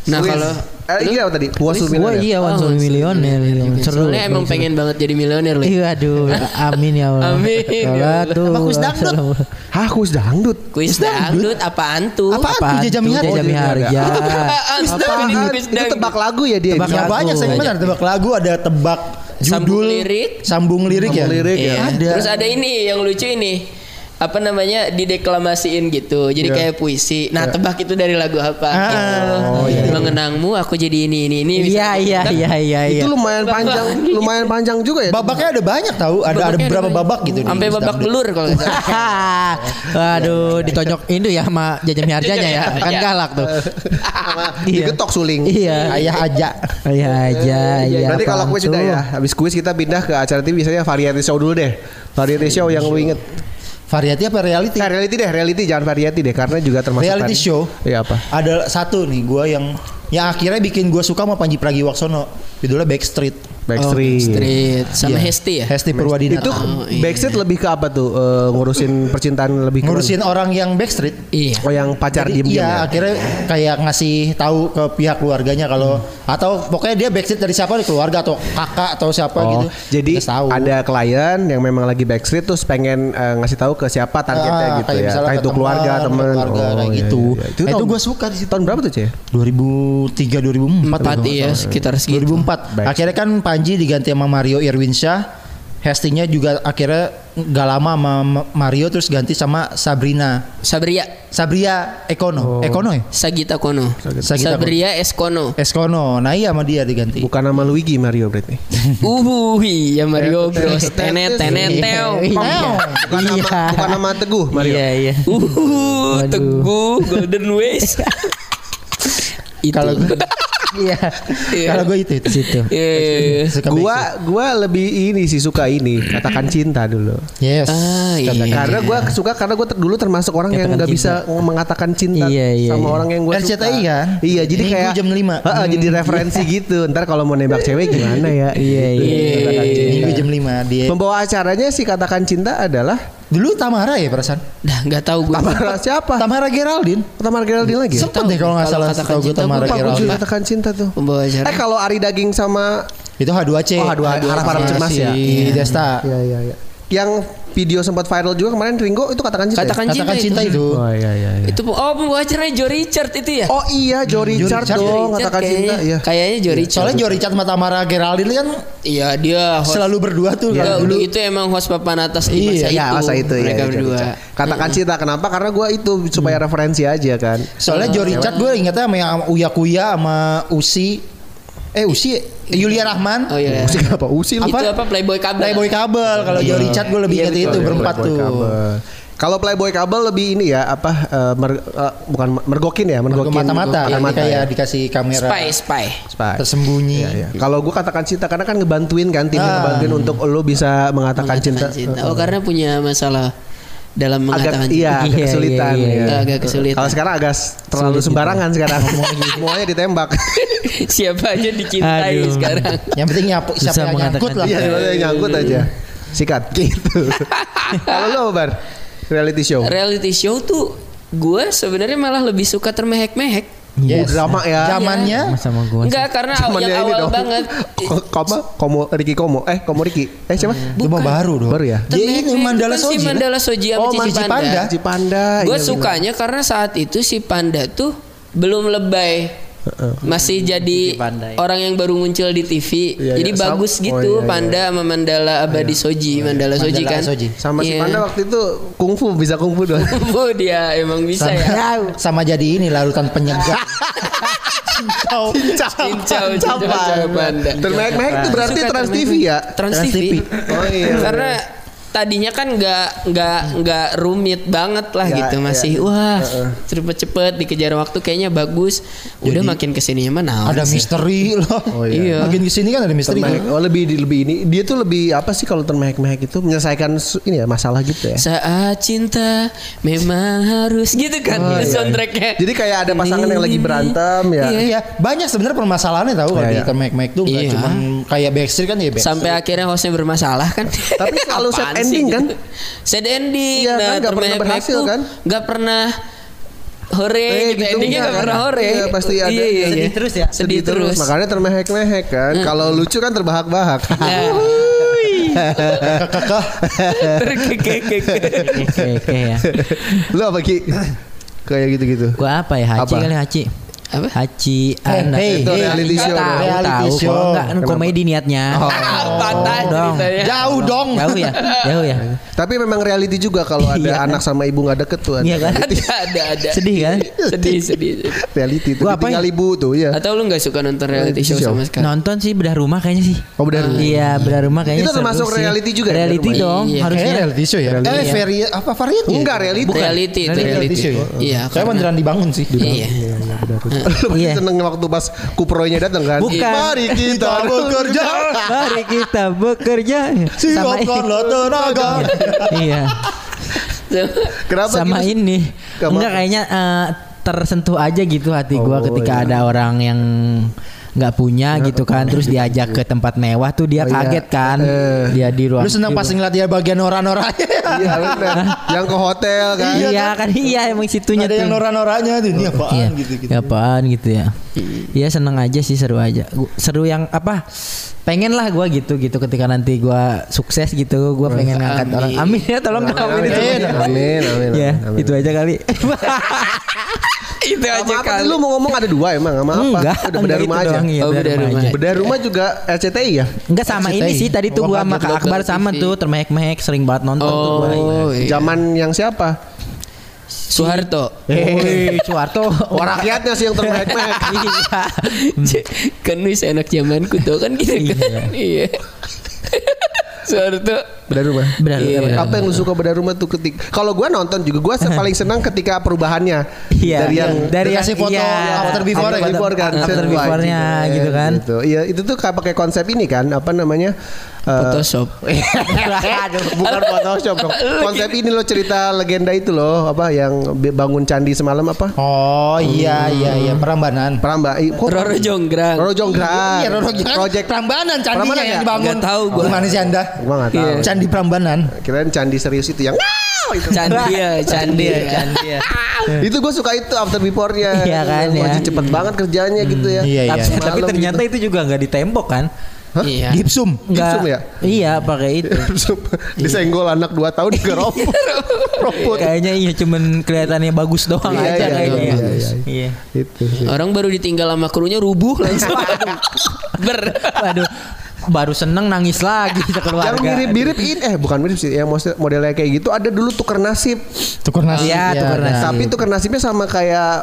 C: Nah,
A: Kuis.
C: kalau
A: eh, ini apa tadi? Puas
E: Wah iya one
C: Oh,
E: Zombie
D: ya,
E: Millionaire gitu. seru.
C: Soalnya emang pengen banget jadi milioner Li.
E: Iya aduh, amin ya Allah.
C: Amin, ya Allah.
E: Salatu
B: Apa kuis
E: wa
B: dangdut?
E: salamu.
A: Hah, kuis dangdut.
C: Kuis dangdut apaan tuh?
B: Apa?
E: Apaan tuh
B: Tuh, Jajami Harja.
E: Jajami Harja?
C: Apaan?
A: Kuis dangdut. Itu tebak lagu ya dia.
E: Tebak
A: Bisa.
B: Ya
E: lagu.
B: banyak segmen ada tebak lagu, ada tebak judul,
C: Sambung lirik.
B: sambung lirik ya.
A: Sambung lirik ya.
C: Iya.
B: Ada.
C: Terus ada ini yang lucu ini. Apa namanya? Dideklamasiin gitu.
B: Iya.
C: Jadi kayak puisi. Nah, tebak itu dari lagu apa
B: Ah,
C: gitu.
B: iya.
C: Mengenangmu aku jadi ini ini
E: Iya
C: ini. misalnya. gitu.
E: iya
C: Tapi
E: iya iya iya.
A: Itu lumayan panjang, lumayan panjang juga *laughs* ya.
B: Babaknya ada banyak tahu, ada ada
C: babaknya
B: beberapa
C: banyak.
B: babak gitu. di
C: Sampai
B: Quiz
C: babak
B: Dangdut.
C: belur kalau nggak
B: *laughs*
C: salah.
E: Aduh, ditonjok Indo ya sama Jajami Harjanya ya. Kan galak tuh. Iya.
A: Digetok suling.
E: Iya.
B: Ayah aja.
E: Iya aja iya.
A: Nanti kalau
E: apaan
A: kuis udah
E: tuh?
A: ya, habis kuis kita pindah ke acara TV biasanya variety show dulu deh. Variety show yang lu inget.
B: Variety apa reality?
A: Nah, reality deh, reality jangan variety deh karena juga termasuk
B: Reality
A: vari-
B: show.
A: Iya apa?
B: Ada satu nih gua yang yang akhirnya bikin gua suka sama Panji Pragiwaksono. Judulnya Backstreet.
A: Backstreet.
C: Street Oh,
B: Iya.
C: sama Hesti ya.
B: Hesti Purwadinata.
A: Itu
C: Oh, iya.
A: backstreet lebih ke apa tuh? Eh, ngurusin percintaan lebih ke
B: ngurusin orang yang Backstreet.
C: Iya.
A: Oh yang pacar
B: Jadi,
A: diem diem
B: iya,
A: ya.
B: akhirnya kayak ngasih tahu ke pihak keluarganya kalau
A: Hmm.
B: atau pokoknya dia backstreet dari siapa dari keluarga atau kakak atau siapa
A: Oh,
B: gitu.
A: jadi
B: Terus tahu.
A: ada klien yang memang lagi backstreet terus pengen eh, ngasih tahu ke siapa targetnya
B: Ah,
A: gitu
B: kayak
A: ya.
B: misalnya
A: Kayak
B: ke
A: itu
B: teman,
A: keluarga,
B: ke
A: temen.
B: keluarga,
A: Oh,
B: kayak
A: iya,
B: gitu.
A: iya.
B: Nah, itu
A: tahun-
B: gua suka di situ.
A: Tahun berapa tuh, Ceh?
B: 2003 2004
C: Empat
B: kalau nggak
C: iya
B: salah.
C: sekitar segitu.
B: 2004.
A: Baik.
B: Akhirnya kan Panji diganti sama Mario Irwinsyah. Hestinya juga akhirnya nggak lama sama Ma- Mario terus ganti sama Sabrina.
C: Sabria
B: Sabria Ekono. Ekono ya?
C: Sagita Kono.
B: Sagita Kono.
C: Sabria Eskono.
B: Eskono. Nah iya sama dia diganti.
A: Bukan nama Luigi Mario
B: *laughs*
A: berarti.
C: Uhuhi ya Mario
B: Iya,
C: Bros.
A: tenet,
C: Tenet tenet teo.
E: Iya.
A: Bukan nama,
E: Iya.
A: bukan nama Teguh Mario.
E: Iya iya.
C: Uhuh,
E: Waduh.
C: Teguh Golden
E: *laughs*
C: Ways. Itu.
B: Kalau gue
C: *laughs*
E: Iya.
B: kalau gue itu itu.
E: Situ.
C: Iya, iya, iya.
B: Suka
A: Gua gua lebih ini sih suka ini, katakan cinta dulu.
B: Yes.
C: Ah, iya.
B: Katakan.
A: Karena gue suka karena gue dulu termasuk orang yang
E: Katakan
A: nggak bisa mengatakan cinta
E: Iya, iya, iya.
A: sama orang yang gue suka.
B: RCTI kan?
A: Iya, jadi
B: Minggu
A: kayak
B: jam lima.
A: Heeh, jadi referensi gitu. Ntar kalau mau nembak cewek gimana ya?
E: Iya,
A: Gitu,
E: iya.
A: katakan cinta.
B: Minggu jam 5 dia.
A: Pembawa acaranya si katakan cinta adalah
B: Dulu Tamara ya perasaan.
C: Dah nggak tahu gue.
A: Tamara siapa?
B: Tamara Geraldine.
A: Tamara Geraldine lagi. ya?
B: Sempet deh kalau nggak
C: Kalau
B: salah
C: katakan
B: tahu gue
C: cinta,
B: Tamara
A: Lupa gue juga
B: Geraldine.
A: katakan cinta tuh.
C: Pembawa acara.
A: Eh kalau Ari Daging sama
B: Itu H2C.
A: Oh, H2C. Harap-harap cemas ya?
B: Si Desta.
A: Iya iya iya. Yang video sempat viral juga kemarin Ringo itu katakan cinta. ya?
C: Katakan
B: Katakan cinta
C: cinta
B: itu.
A: Oh iya iya. iya.
C: Itu oh pembawa acaranya Joe Richard itu ya.
A: Oh iya, Joe Richard
B: Richard.
C: Joe
A: dong
C: Richard
A: katakan
C: kayaknya.
A: cinta. Iya.
C: Kayaknya Joe Richard.
B: Soalnya Jo Richard sama Tamara Geraldine kan
C: Iya dia. host-
B: selalu berdua tuh
C: Iya,
B: kalau dulu.
C: udah itu emang host papan atas di
A: Iya, ya,
C: masa itu.
A: masa itu
C: mereka
A: ya,
C: berdua.
A: Richard. Katakan cinta kenapa? Karena gue itu supaya referensi aja kan.
B: Soalnya Jo Richard gue ingetnya sama yang Uya Kuya sama Usi. Eh Usi Yulia Rahman.
C: Oh iya.
A: Usil apa? Usil.
B: Apa?
C: Itu apa Playboy kabel?
B: Playboy kabel kalau Jo Richard gue lebih inget
C: Iya, betul.
B: itu berempat
A: Playboy
B: tuh.
A: Kabel. Kalau Playboy kabel lebih ini ya apa eh, mer- eh, bukan mergokin ya, mergokin
B: Ke mata-mata
A: Mata-mata ya.
B: nanti kayak dikasih kamera
C: Spy spy.
A: Spy.
B: tersembunyi.
A: Iya, iya. Kalau gue katakan cinta karena kan ngebantuin kan tim
B: Ah.
A: ngebantuin untuk lo bisa mengatakan, cinta.
C: Mengatakan Oh karena punya masalah dalam mengatakan
A: Agak
C: cinta.
A: iya, agak
E: Iya,
A: kesulitan.
E: iya, iya,
A: ya.
C: iya. Agak kesulitan.
A: Kalau sekarang agak s- terlalu sembarangan sekarang. Semuanya ditembak.
C: *laughs* Siapa aja dicintai
E: Aduh.
C: sekarang.
B: Yang penting nyapu,
E: Susah
B: siapa yang nyangkut
E: mengatakan
B: lah.
A: Iya, semuanya nyangkut aja. Sikat *laughs* gitu. Kalau lo apa, Bar? Reality show.
C: Reality show tuh gue sebenarnya malah lebih suka termehek-mehek.
A: Oh, drama ya.
B: Zamannya
E: Iya, Sama gua.
C: Enggak karena aw-
A: Zamannya ya
C: yang
A: ini
C: awal
A: dong. Oh.
C: banget.
A: *laughs* Ko- Komo, Komo, Ricky Komo. Eh, Komo Ricky. Eh, siapa?
B: itu mah baru dong.
A: Baru ya?
B: Dia ini
C: Termehek-mehek
B: Mandala
C: itu kan
B: Soji.
C: Si Mandala Soji sama
B: Oh,
C: Cici
B: Cici
C: Panda.
B: Panda.
A: Cipanda.
C: Gue
A: iya,
C: sukanya karena saat itu si Panda tuh belum lebay
A: Hmm,
C: Masih jadi
D: Pandai.
C: orang yang baru muncul di TV.
A: Iya,
C: jadi
A: iya. Sam-
C: bagus
A: oh,
C: gitu
A: iya, iya.
C: Panda sama Mandala Abadi Soji, Mandala Soji
B: Mandala
C: kan.
B: Soji.
A: Sama si
C: Iya.
A: Panda waktu itu kungfu bisa kungfu doang.
C: *laughs* Bu, dia emang bisa
B: sama,
C: ya.
B: sama jadi ini larutan penyegap. Cincau.
C: Cincau, cincau, cincau, Panda.
A: Termehek-mehek itu berarti
C: Suka
A: Trans
C: termehek.
A: TV ya?
C: Trans
B: Trans TV.
C: TV.
A: Oh iya.
C: Karena tadinya kan nggak nggak nggak rumit banget lah
A: Ya, ya.
C: gitu masih wah cepet-cepet dikejar waktu kayaknya bagus udah makin kesininya mah naon
B: Ada
C: sih.
B: misteri loh.
A: Oh,
C: iya.
B: Makin kesini kan ada misteri.
A: Termehek. Oh lebih lebih ini dia tuh lebih apa sih kalau termehek-mehek itu menyelesaikan su- ini ya masalah gitu ya.
C: Saat cinta memang harus gitu kan itu
A: Oh, iya,
C: soundtracknya.
A: Jadi kayak ada pasangan yang lagi berantem ya.
B: Iya, iya. banyak sebenarnya permasalahannya tahu kalau
A: Iya,
B: di
A: iya.
B: termek-mek tuh nggak
C: Iya.
B: cuman kayak backstreet kan ya backstreet.
C: Sampai akhirnya hostnya bermasalah kan.
A: Tapi
C: *laughs*
A: selalu sad
C: Apaan sih
A: ending,
C: gitu?
A: kan?
C: Sad ending.
A: Iya, kan? Nggak pernah
C: termehek-mehek
A: berhasil,
C: tuh
A: kan?
C: nggak pernah hore
A: Eh,
C: gitu,
A: gitu
C: endingnya nggak
A: kan?
C: pernah hore.
A: Iya, pasti ada.
C: Iya, iya,
D: Sedih
C: iya.
D: terus Mm. ya?
C: Sedih, terus.
A: Makanya termehek-mehek kan. Kalau lucu kan
D: *laughs*
A: terbahak-bahak.
C: Ya.
D: Iya.
C: Terkekekek.
D: Oke oke ya.
A: *laughs* Lu apa Ki? Kayak gitu-gitu.
D: Gua apa ya? Haji
A: Apa?
D: kali Haji.
C: Apa?
D: Haji
B: Eh,
D: anak.
B: hey,
A: Itu
B: hey,
A: reality show.
D: Tahu,
B: Reality
D: tahu.
B: show.
D: Kalau enggak
E: kan
D: komedi niatnya.
C: Ah, Patah
D: dong.
C: ceritanya.
B: Jauh dong.
D: Jauh
C: iya.
D: ya? Jauh ya?
A: Tapi memang reality juga kalau
D: *laughs*
A: ada anak sama ibu nggak deket tuh. ada.
D: Iya kan?
C: Ada, ada, ada.
D: Sedih kan?
C: sedih, sedih. sedih.
A: Reality tuh
D: Gua apa
A: ditinggal
D: ya?
A: ibu tuh ya.
C: Atau lu nggak suka nonton
A: Reality
C: reality show
A: show.
C: sama sekali?
D: Nonton sih bedah rumah kayaknya sih.
A: Oh, bedah rumah.
D: Iya, bedah rumah kayaknya.
A: Itu termasuk
D: seru sih.
A: reality juga ya,
D: Reality
A: bedah rumah?
D: dong,
C: Iya.
B: Harusnya
D: harusnya.
B: reality show ya. Eh, vari apa
D: Iya.
B: variety? ya?
A: Enggak reality.
C: Bukan reality, itu
B: Reality,
C: reality.
B: show. ya?
C: Iya,
B: Saya
C: karena-
B: beneran dibangun sih.
C: Iya.
A: *laughs*
C: *laughs*
A: Lu pasti
D: Iya.
A: seneng waktu pas kuproynya datang kan?
D: Bukan.
A: Mari kita
D: *laughs*
A: bekerja.
D: Mari kita bekerja sama ini.
B: Siapkanlah tenaga.
D: Iya.
A: Kenapa?
D: Sama
A: gitu?
D: ini.
A: Gak
D: Enggak
A: apa-apa.
D: kayaknya eh, tersentuh aja gitu hati
A: Oh,
D: gua
A: iya.
D: ketika ada orang yang nggak punya gitu kan terus diajak ke tempat mewah tuh
A: Oh,
D: dia
A: iya.
D: kaget kan
A: Eh.
D: dia di ruang
B: Lu senang
D: di-
B: pas ngeliat dia bagian noran-norannya.
A: Iya benar. Yang ke hotel kan.
D: iya kan iya emang situnya
B: Ada yang
D: tuh.
B: noran-norannya tuh. Ini
D: Iya,
B: apaan gitu-gitu.
D: ya apaan gitu ya. Iya seneng aja sih seru aja. Gu- Seru yang apa? Pengen lah gue gitu gitu ketika nanti gue sukses gitu, gue pengen ngangkat
C: Amin.
D: orang. Amin ya tolong dong, amin itu.
A: Amin, amin, amin.
D: Ya
A: amin.
D: itu aja kali.
C: Itu
A: Sama
C: aja
A: apa
C: kali.
A: tadi lu mau ngomong ada dua emang sama apa?
D: *laughs* enggak,
A: Udah beda
D: enggak
A: rumah
D: itu
A: aja.
D: doang, iya,
C: Oh,
D: bedah
C: bedah
D: rumah
C: rumah.
D: aja.
A: Beda rumah juga RCTI ya?
D: Enggak sama ini sih tadi tuh gue sama
C: kaget,
D: Kak Akbar
C: local
D: sama
C: TV.
D: tuh termehek-mehek sering banget nonton ya? tuh gue.
C: Oh, iya.
A: Zaman yang siapa?
C: Soeharto. *laughs*
D: Iya. Woi, Suwarto.
A: Oh, rakyatnya sih yang terbaik-baik.
D: *laughs* Iya.
C: Cek, kan wis enak zamanku tuh kan gitu kan. Iya. Soeharto.
A: Beda rumah.
D: Benar,
C: Iya.
D: benar.
A: Apa yang lu suka beda rumah tuh ketik? Kalau gua nonton juga gua se- paling senang ketika perubahannya
D: Iya.
A: dari yang
D: dari
B: Dia
D: yang iya.
B: kasih foto after before
A: After
B: ya, gitu.
A: before kan
D: After
A: set white
D: before-nya
A: gitu,
D: gitu kan.
A: gitu. Iya itu tuh kayak pakai konsep ini kan apa namanya eh,
C: Photoshop.
A: Aduh, *laughs* bukan Photoshop dong. Konsep ini lo cerita legenda itu loh, apa yang b- bangun candi semalam apa?
B: Oh iya
A: Hmm.
B: iya iya perambanan.
A: Peramba. eh, kok-
C: Roro Jonggrang.
A: Roro Jonggrang.
B: Iya, Roro Jonggrang.
A: Project
B: Prambanan candinya
A: Prambanan
B: yang
A: ya?
B: dibangun.
C: Nggak tahu gua.
B: Gimana sih Anda?
A: Gua nggak tahu.
B: Candi Prambanan.
A: Kirain candi serius itu yang
C: Candi ya, candi ya.
A: *laughs* itu gue suka itu after before-nya.
D: Iya kan,
A: Wah,
D: ya.
A: cepet banget kerjanya gitu ya.
B: Iya iya.
D: Tapi, tapi
A: Malam gitu.
D: ternyata
A: *laughs*
D: itu juga nggak ditembok kan?
C: Iya.
B: Gipsum.
D: Nggak.
A: Gipsum ya?
D: Iya, pakai itu.
A: Disenggol anak 2 tahun juga robot. robot.
D: Kayaknya iya cuman kelihatannya bagus doang
A: Oh, Iya,
D: aja
A: iya,
D: kayaknya.
A: iya,
D: Iya,
A: iya, Itu sih.
C: Orang baru ditinggal sama krunya rubuh
D: *laughs*
C: langsung. Aduh. Ber.
D: Waduh, baru seneng nangis lagi
A: *laughs*
D: sekeluarga.
A: Yang mirip-mirip ini eh bukan mirip sih, yang mos- modelnya kayak gitu ada dulu tuker nasib. Nah,
B: Tukur nasi.
D: Iya, tuker
B: ada.
D: nasi.
A: Tapi tuker nasibnya sama kayak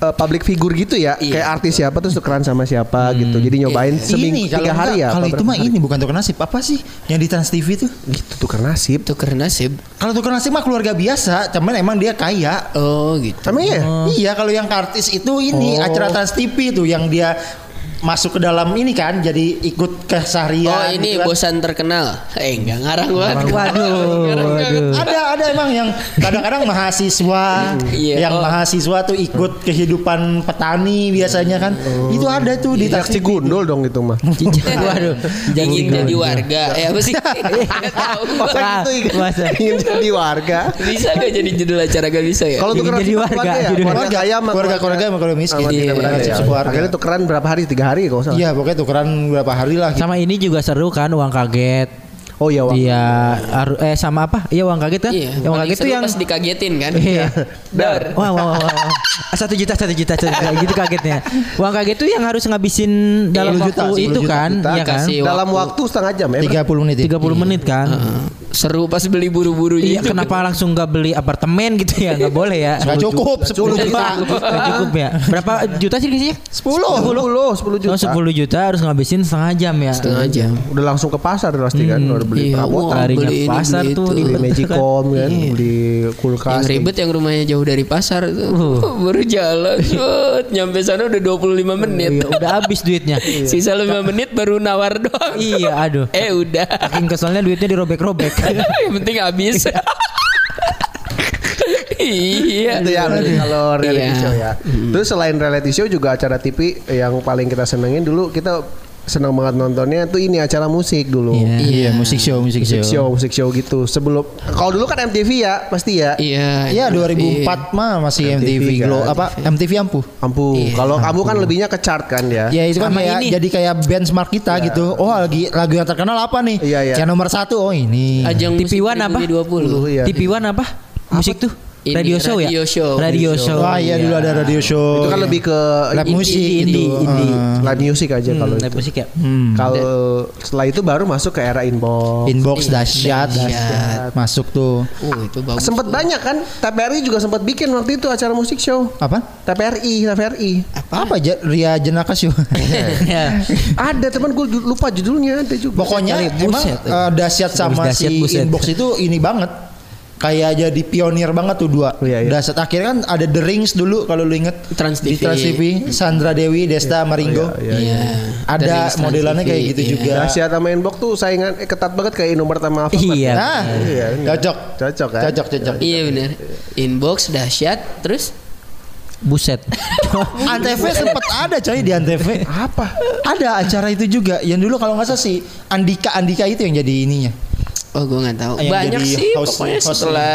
A: eh, public figure gitu ya, kayak artis siapa terus tukeran sama siapa gitu. Jadi nyobain seminggu
B: Ini kalau
A: tiga hari
B: enggak,
A: ya.
B: Kalau
A: apa
B: itu
A: berapa
B: mah ini bukan tuker nasib. Apa sih yang di Trans TV tuh?
A: hari? gitu tuker nasib.
C: Tuker nasib.
B: Kalau tuker nasib mah keluarga biasa, cuman emang dia kaya.
C: Oh, gitu.
A: Emang iya?
B: Iya, kalau yang artis itu ini
A: Oh.
B: acara Trans TV tuh yang dia masuk ke dalam ini kan jadi ikut
D: Iya,
B: keseharian
C: Oh
B: gitu
C: ini
B: kan.
C: bosan terkenal. Eh enggak ngarang banget.
D: Waduh,
C: Ngarang banget.
D: waduh.
B: ada ada emang yang kadang-kadang mahasiswa
C: Iya.
B: yang
C: Oh.
B: mahasiswa tuh ikut kehidupan petani biasanya kan
C: Oh.
B: itu ada tuh di
A: Saksi
B: taksi
A: gundul dong itu mah.
D: Waduh, Iya.
C: Ingin jadi warga. Eh apa
D: *laughs*
C: sih? Nggak tahu gua.
A: Masa gitu ingin-
D: masa.
A: ingin jadi warga.
C: Bisa gak jadi judul acara gak bisa ya?
A: Kalau
D: Jadi
A: tukeran
D: jadi
A: sama
D: warga,
A: keluarga ya,
D: jadi
A: keluarga
B: keluarga
A: kaya sama
B: keluarga keluarga sama keluarga miskin
A: sama
C: Iya.
A: tidak berada
B: Nasib
A: ya.
B: keluarga.
A: Akhirnya tukeran berapa hari? Tiga hari kalau salah.
B: iya pokoknya tukeran berapa hari lah gitu.
D: Sama ini juga seru kan uang kaget.
A: Oh iya, Wak.
D: Iya, aru- eh sama apa? Iya uang kaget kan?
C: Iya.
D: Yang uang
C: paling
D: kaget
C: seru
D: tuh yang
C: pas dikagetin kan.
D: *laughs* Iya.
C: Dar.
D: Wah, wah, wah, wah, wah. Ah, Satu juta, satu juta, satu juta. gitu kagetnya. Uang kaget tuh yang harus ngabisin dalam
B: 10
D: waktu
B: juta, 10
D: itu
B: juta
D: kan,
A: kita
D: iya kan?
C: Iya. kasih
A: Dalam waktu setengah jam ya.
B: 30 menit.
D: 30 menit kan.
C: Seru pas beli buru-buru
D: Iya,
C: gitu.
D: kenapa langsung nggak beli apartemen gitu ya? Nggak boleh ya.
B: Gak Iya. cukup 10 juta.
D: Nggak cukup ya. Berapa juta sih isinya?
A: 10, 10, 10
D: Oh,
A: juta.
D: 10 juta harus ngabisin setengah jam ya.
C: Setengah jam.
A: Udah langsung ke pasar pasti kan, udah beli
C: Iya,
A: perabotan,
C: wah, gitu.
D: Larinya
C: beli ini,
D: pasar
C: beli
D: tuh,
C: itu.
A: beli
D: ribet
A: magicom kan,
C: Iya.
A: beli
C: Yang
A: kulkas.
C: ribet yang rumahnya jauh dari pasar itu. *laughs* Baru jalan. set, Nyampe sana udah 25 menit.
D: Iya, udah habis duitnya.
C: *laughs* Sisa 5 menit baru nawar doang.
D: iya, aduh.
C: *laughs* Eh udah. *laughs*
D: Saking keselnya duitnya dirobek-robek.
C: yang penting habis. *laughs* iya.
A: Itu ya kalau reality
C: Iya.
A: show ya. Terus selain reality show juga acara TV yang paling kita senengin dulu kita senang banget nontonnya tuh ini acara musik dulu.
B: Iya, musik show, musik
A: Musik
B: show.
A: show, musik show gitu. Sebelum kalau dulu kan MTV ya, pasti ya.
C: Iya.
B: Iya 2004 mah masih
A: kan.
B: MTV, Glow apa MTV ampuh.
A: Ampuh, kalau kamu kan lebihnya ke chart kan ya.
B: Ya itu kan
D: Sama
B: kayak
D: ini.
B: jadi kayak benchmark kita gitu. Oh lagi lagu yang terkenal apa nih?
A: Iya, iya.
B: Yang nomor satu oh ini.
C: Ajang
D: TV
C: musik
D: One apa? Uh,
C: 2020.
A: Iya.
D: TV One apa? Musik tuh?
C: Ini,
D: radio show ya?
C: radio show.
D: Radio show. Hmm,
B: Wah iya dulu ada radio show.
A: Itu kan lebih ke
B: Iya. Lab
D: Indie,
B: musik
D: indie,
B: gitu.
D: indie.
B: Eh,
A: live music aja kalau
D: Hmm,
A: itu.
D: live musik ya?
A: Kalau setelah itu baru masuk ke era inbox.
B: inbox dahsyat.
C: dahsyat.
B: Masuk tuh
C: Oh, itu bagus.
A: Sempet
C: *laughs*
A: banyak kan? TPRI juga sempat bikin waktu itu acara musik show.
B: apa?
A: TPRI, TPRI.
B: Apa aja Ria Jenaka show?
C: Iya.
A: Ada teman gue ju- lupa judulnya ada juga.
B: Pokoknya
D: Buset kali,
B: emang
D: buset.
B: eh, dahsyat sama
D: Dahsyat,
B: si
D: buset.
B: inbox itu ini banget. Kayak jadi pionir banget tuh dua.
A: Iya, iya.
B: Dahsyat akhirnya kan ada The Rings dulu kalau lu inget.
C: Trans
B: Di
C: TV.
B: Trans TV, Sandra Dewi, Desta Maringgo.
C: Iya. Dari
B: Ada
C: Stan
B: modelannya
C: TV,
B: kayak gitu
C: iya.
B: juga.
A: Dahsyat sama inbox tuh saingan eh, ketat banget kayak nomor pertama apa?
D: Iya.
B: Nah,
A: Iya, ini.
B: cocok.
A: Cocok kan?
B: Cocok, cocok.
C: Iya benar. Inbox dahsyat terus
D: Buset.
B: Antv sempat ada coy di Antv.
A: Apa?
B: Ada acara itu juga. Yang dulu kalau nggak salah si Andika Andika itu yang jadi ininya.
C: oh gue nggak tahu.
B: Yang
C: Banyak
B: jadi
C: sih
B: host-
C: pokoknya
B: host
C: setelah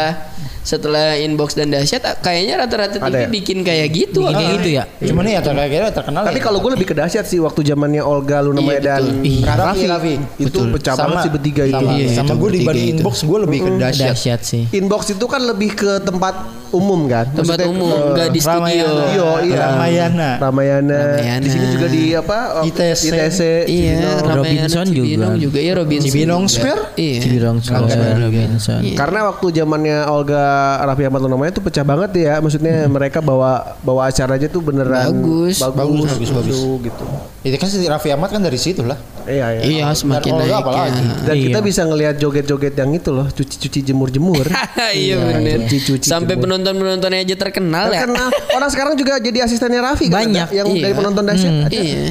C: setelah inbox dan dahsyat ah, kayaknya rata-rata TV
A: Ada ya?
C: bikin kayak gitu.
D: Bikin kayak
C: Ah.
D: gitu ya?
B: Cuman ya kira terkenal.
A: Tapi
B: ya.
A: kalau gue lebih ke dahsyat sih waktu zamannya Olga Lumaya
C: Iya,
A: dan
C: betul.
B: Iya.
A: Raffi,
B: Raffi.
A: itu pecah banget sih bertiga itu.
B: Sama,
C: Iya,
B: sama
C: itu
B: gue
C: bertiga
B: dibanding
C: itu.
B: inbox gue lebih
C: Hmm,
B: ke dahsyat.
D: Dahsyat sih.
A: Inbox itu kan lebih ke tempat umum kan?
C: Tempat
A: Maksudnya,
C: umum
A: eh,
C: nggak di studio.
B: Ramayana.
A: Studio, iya.
B: Ramayana.
A: Ramayana.
C: Ramayana.
A: Di sini juga di apa? eh,
B: ITC.
A: ITC.
C: Iya,
A: Cibinong.
C: Ramayana,
D: Robinson
C: Cibinong
D: juga.
C: juga. Iya, Robinson.
B: Cibinong
C: juga.
B: Square?
C: Iya.
D: Cibirong Square, Robinson.
C: Iya.
A: Karena waktu zamannya Olga Raffi Ahmad Lumaya itu pecah banget ya. Maksudnya mereka bawa bawa acaranya tuh beneran
C: Hmm. Bagus.
A: bagus,
B: Bagus, bagus, bagus.
A: lucu gitu.
B: Itu kan si Raffi Ahmad kan dari situ lah.
A: Iya, iya.
C: Iya, semakin
B: Olga
C: naik ya.
B: apalagi?
A: Dan kita bisa ngelihat joget-joget yang itu loh, cuci-cuci
C: *laughs*
A: jemur-jemur.
C: *laughs* Iya benar.
A: Cuci-cuci
C: Sampai
A: jemur.
C: penonton-penontonnya aja terkenal ya.
A: Karena orang sekarang juga jadi asistennya Raffi kan,
D: Banyak,
A: yang
C: iya.
A: dari penonton dahsyat. ada.
C: Iya.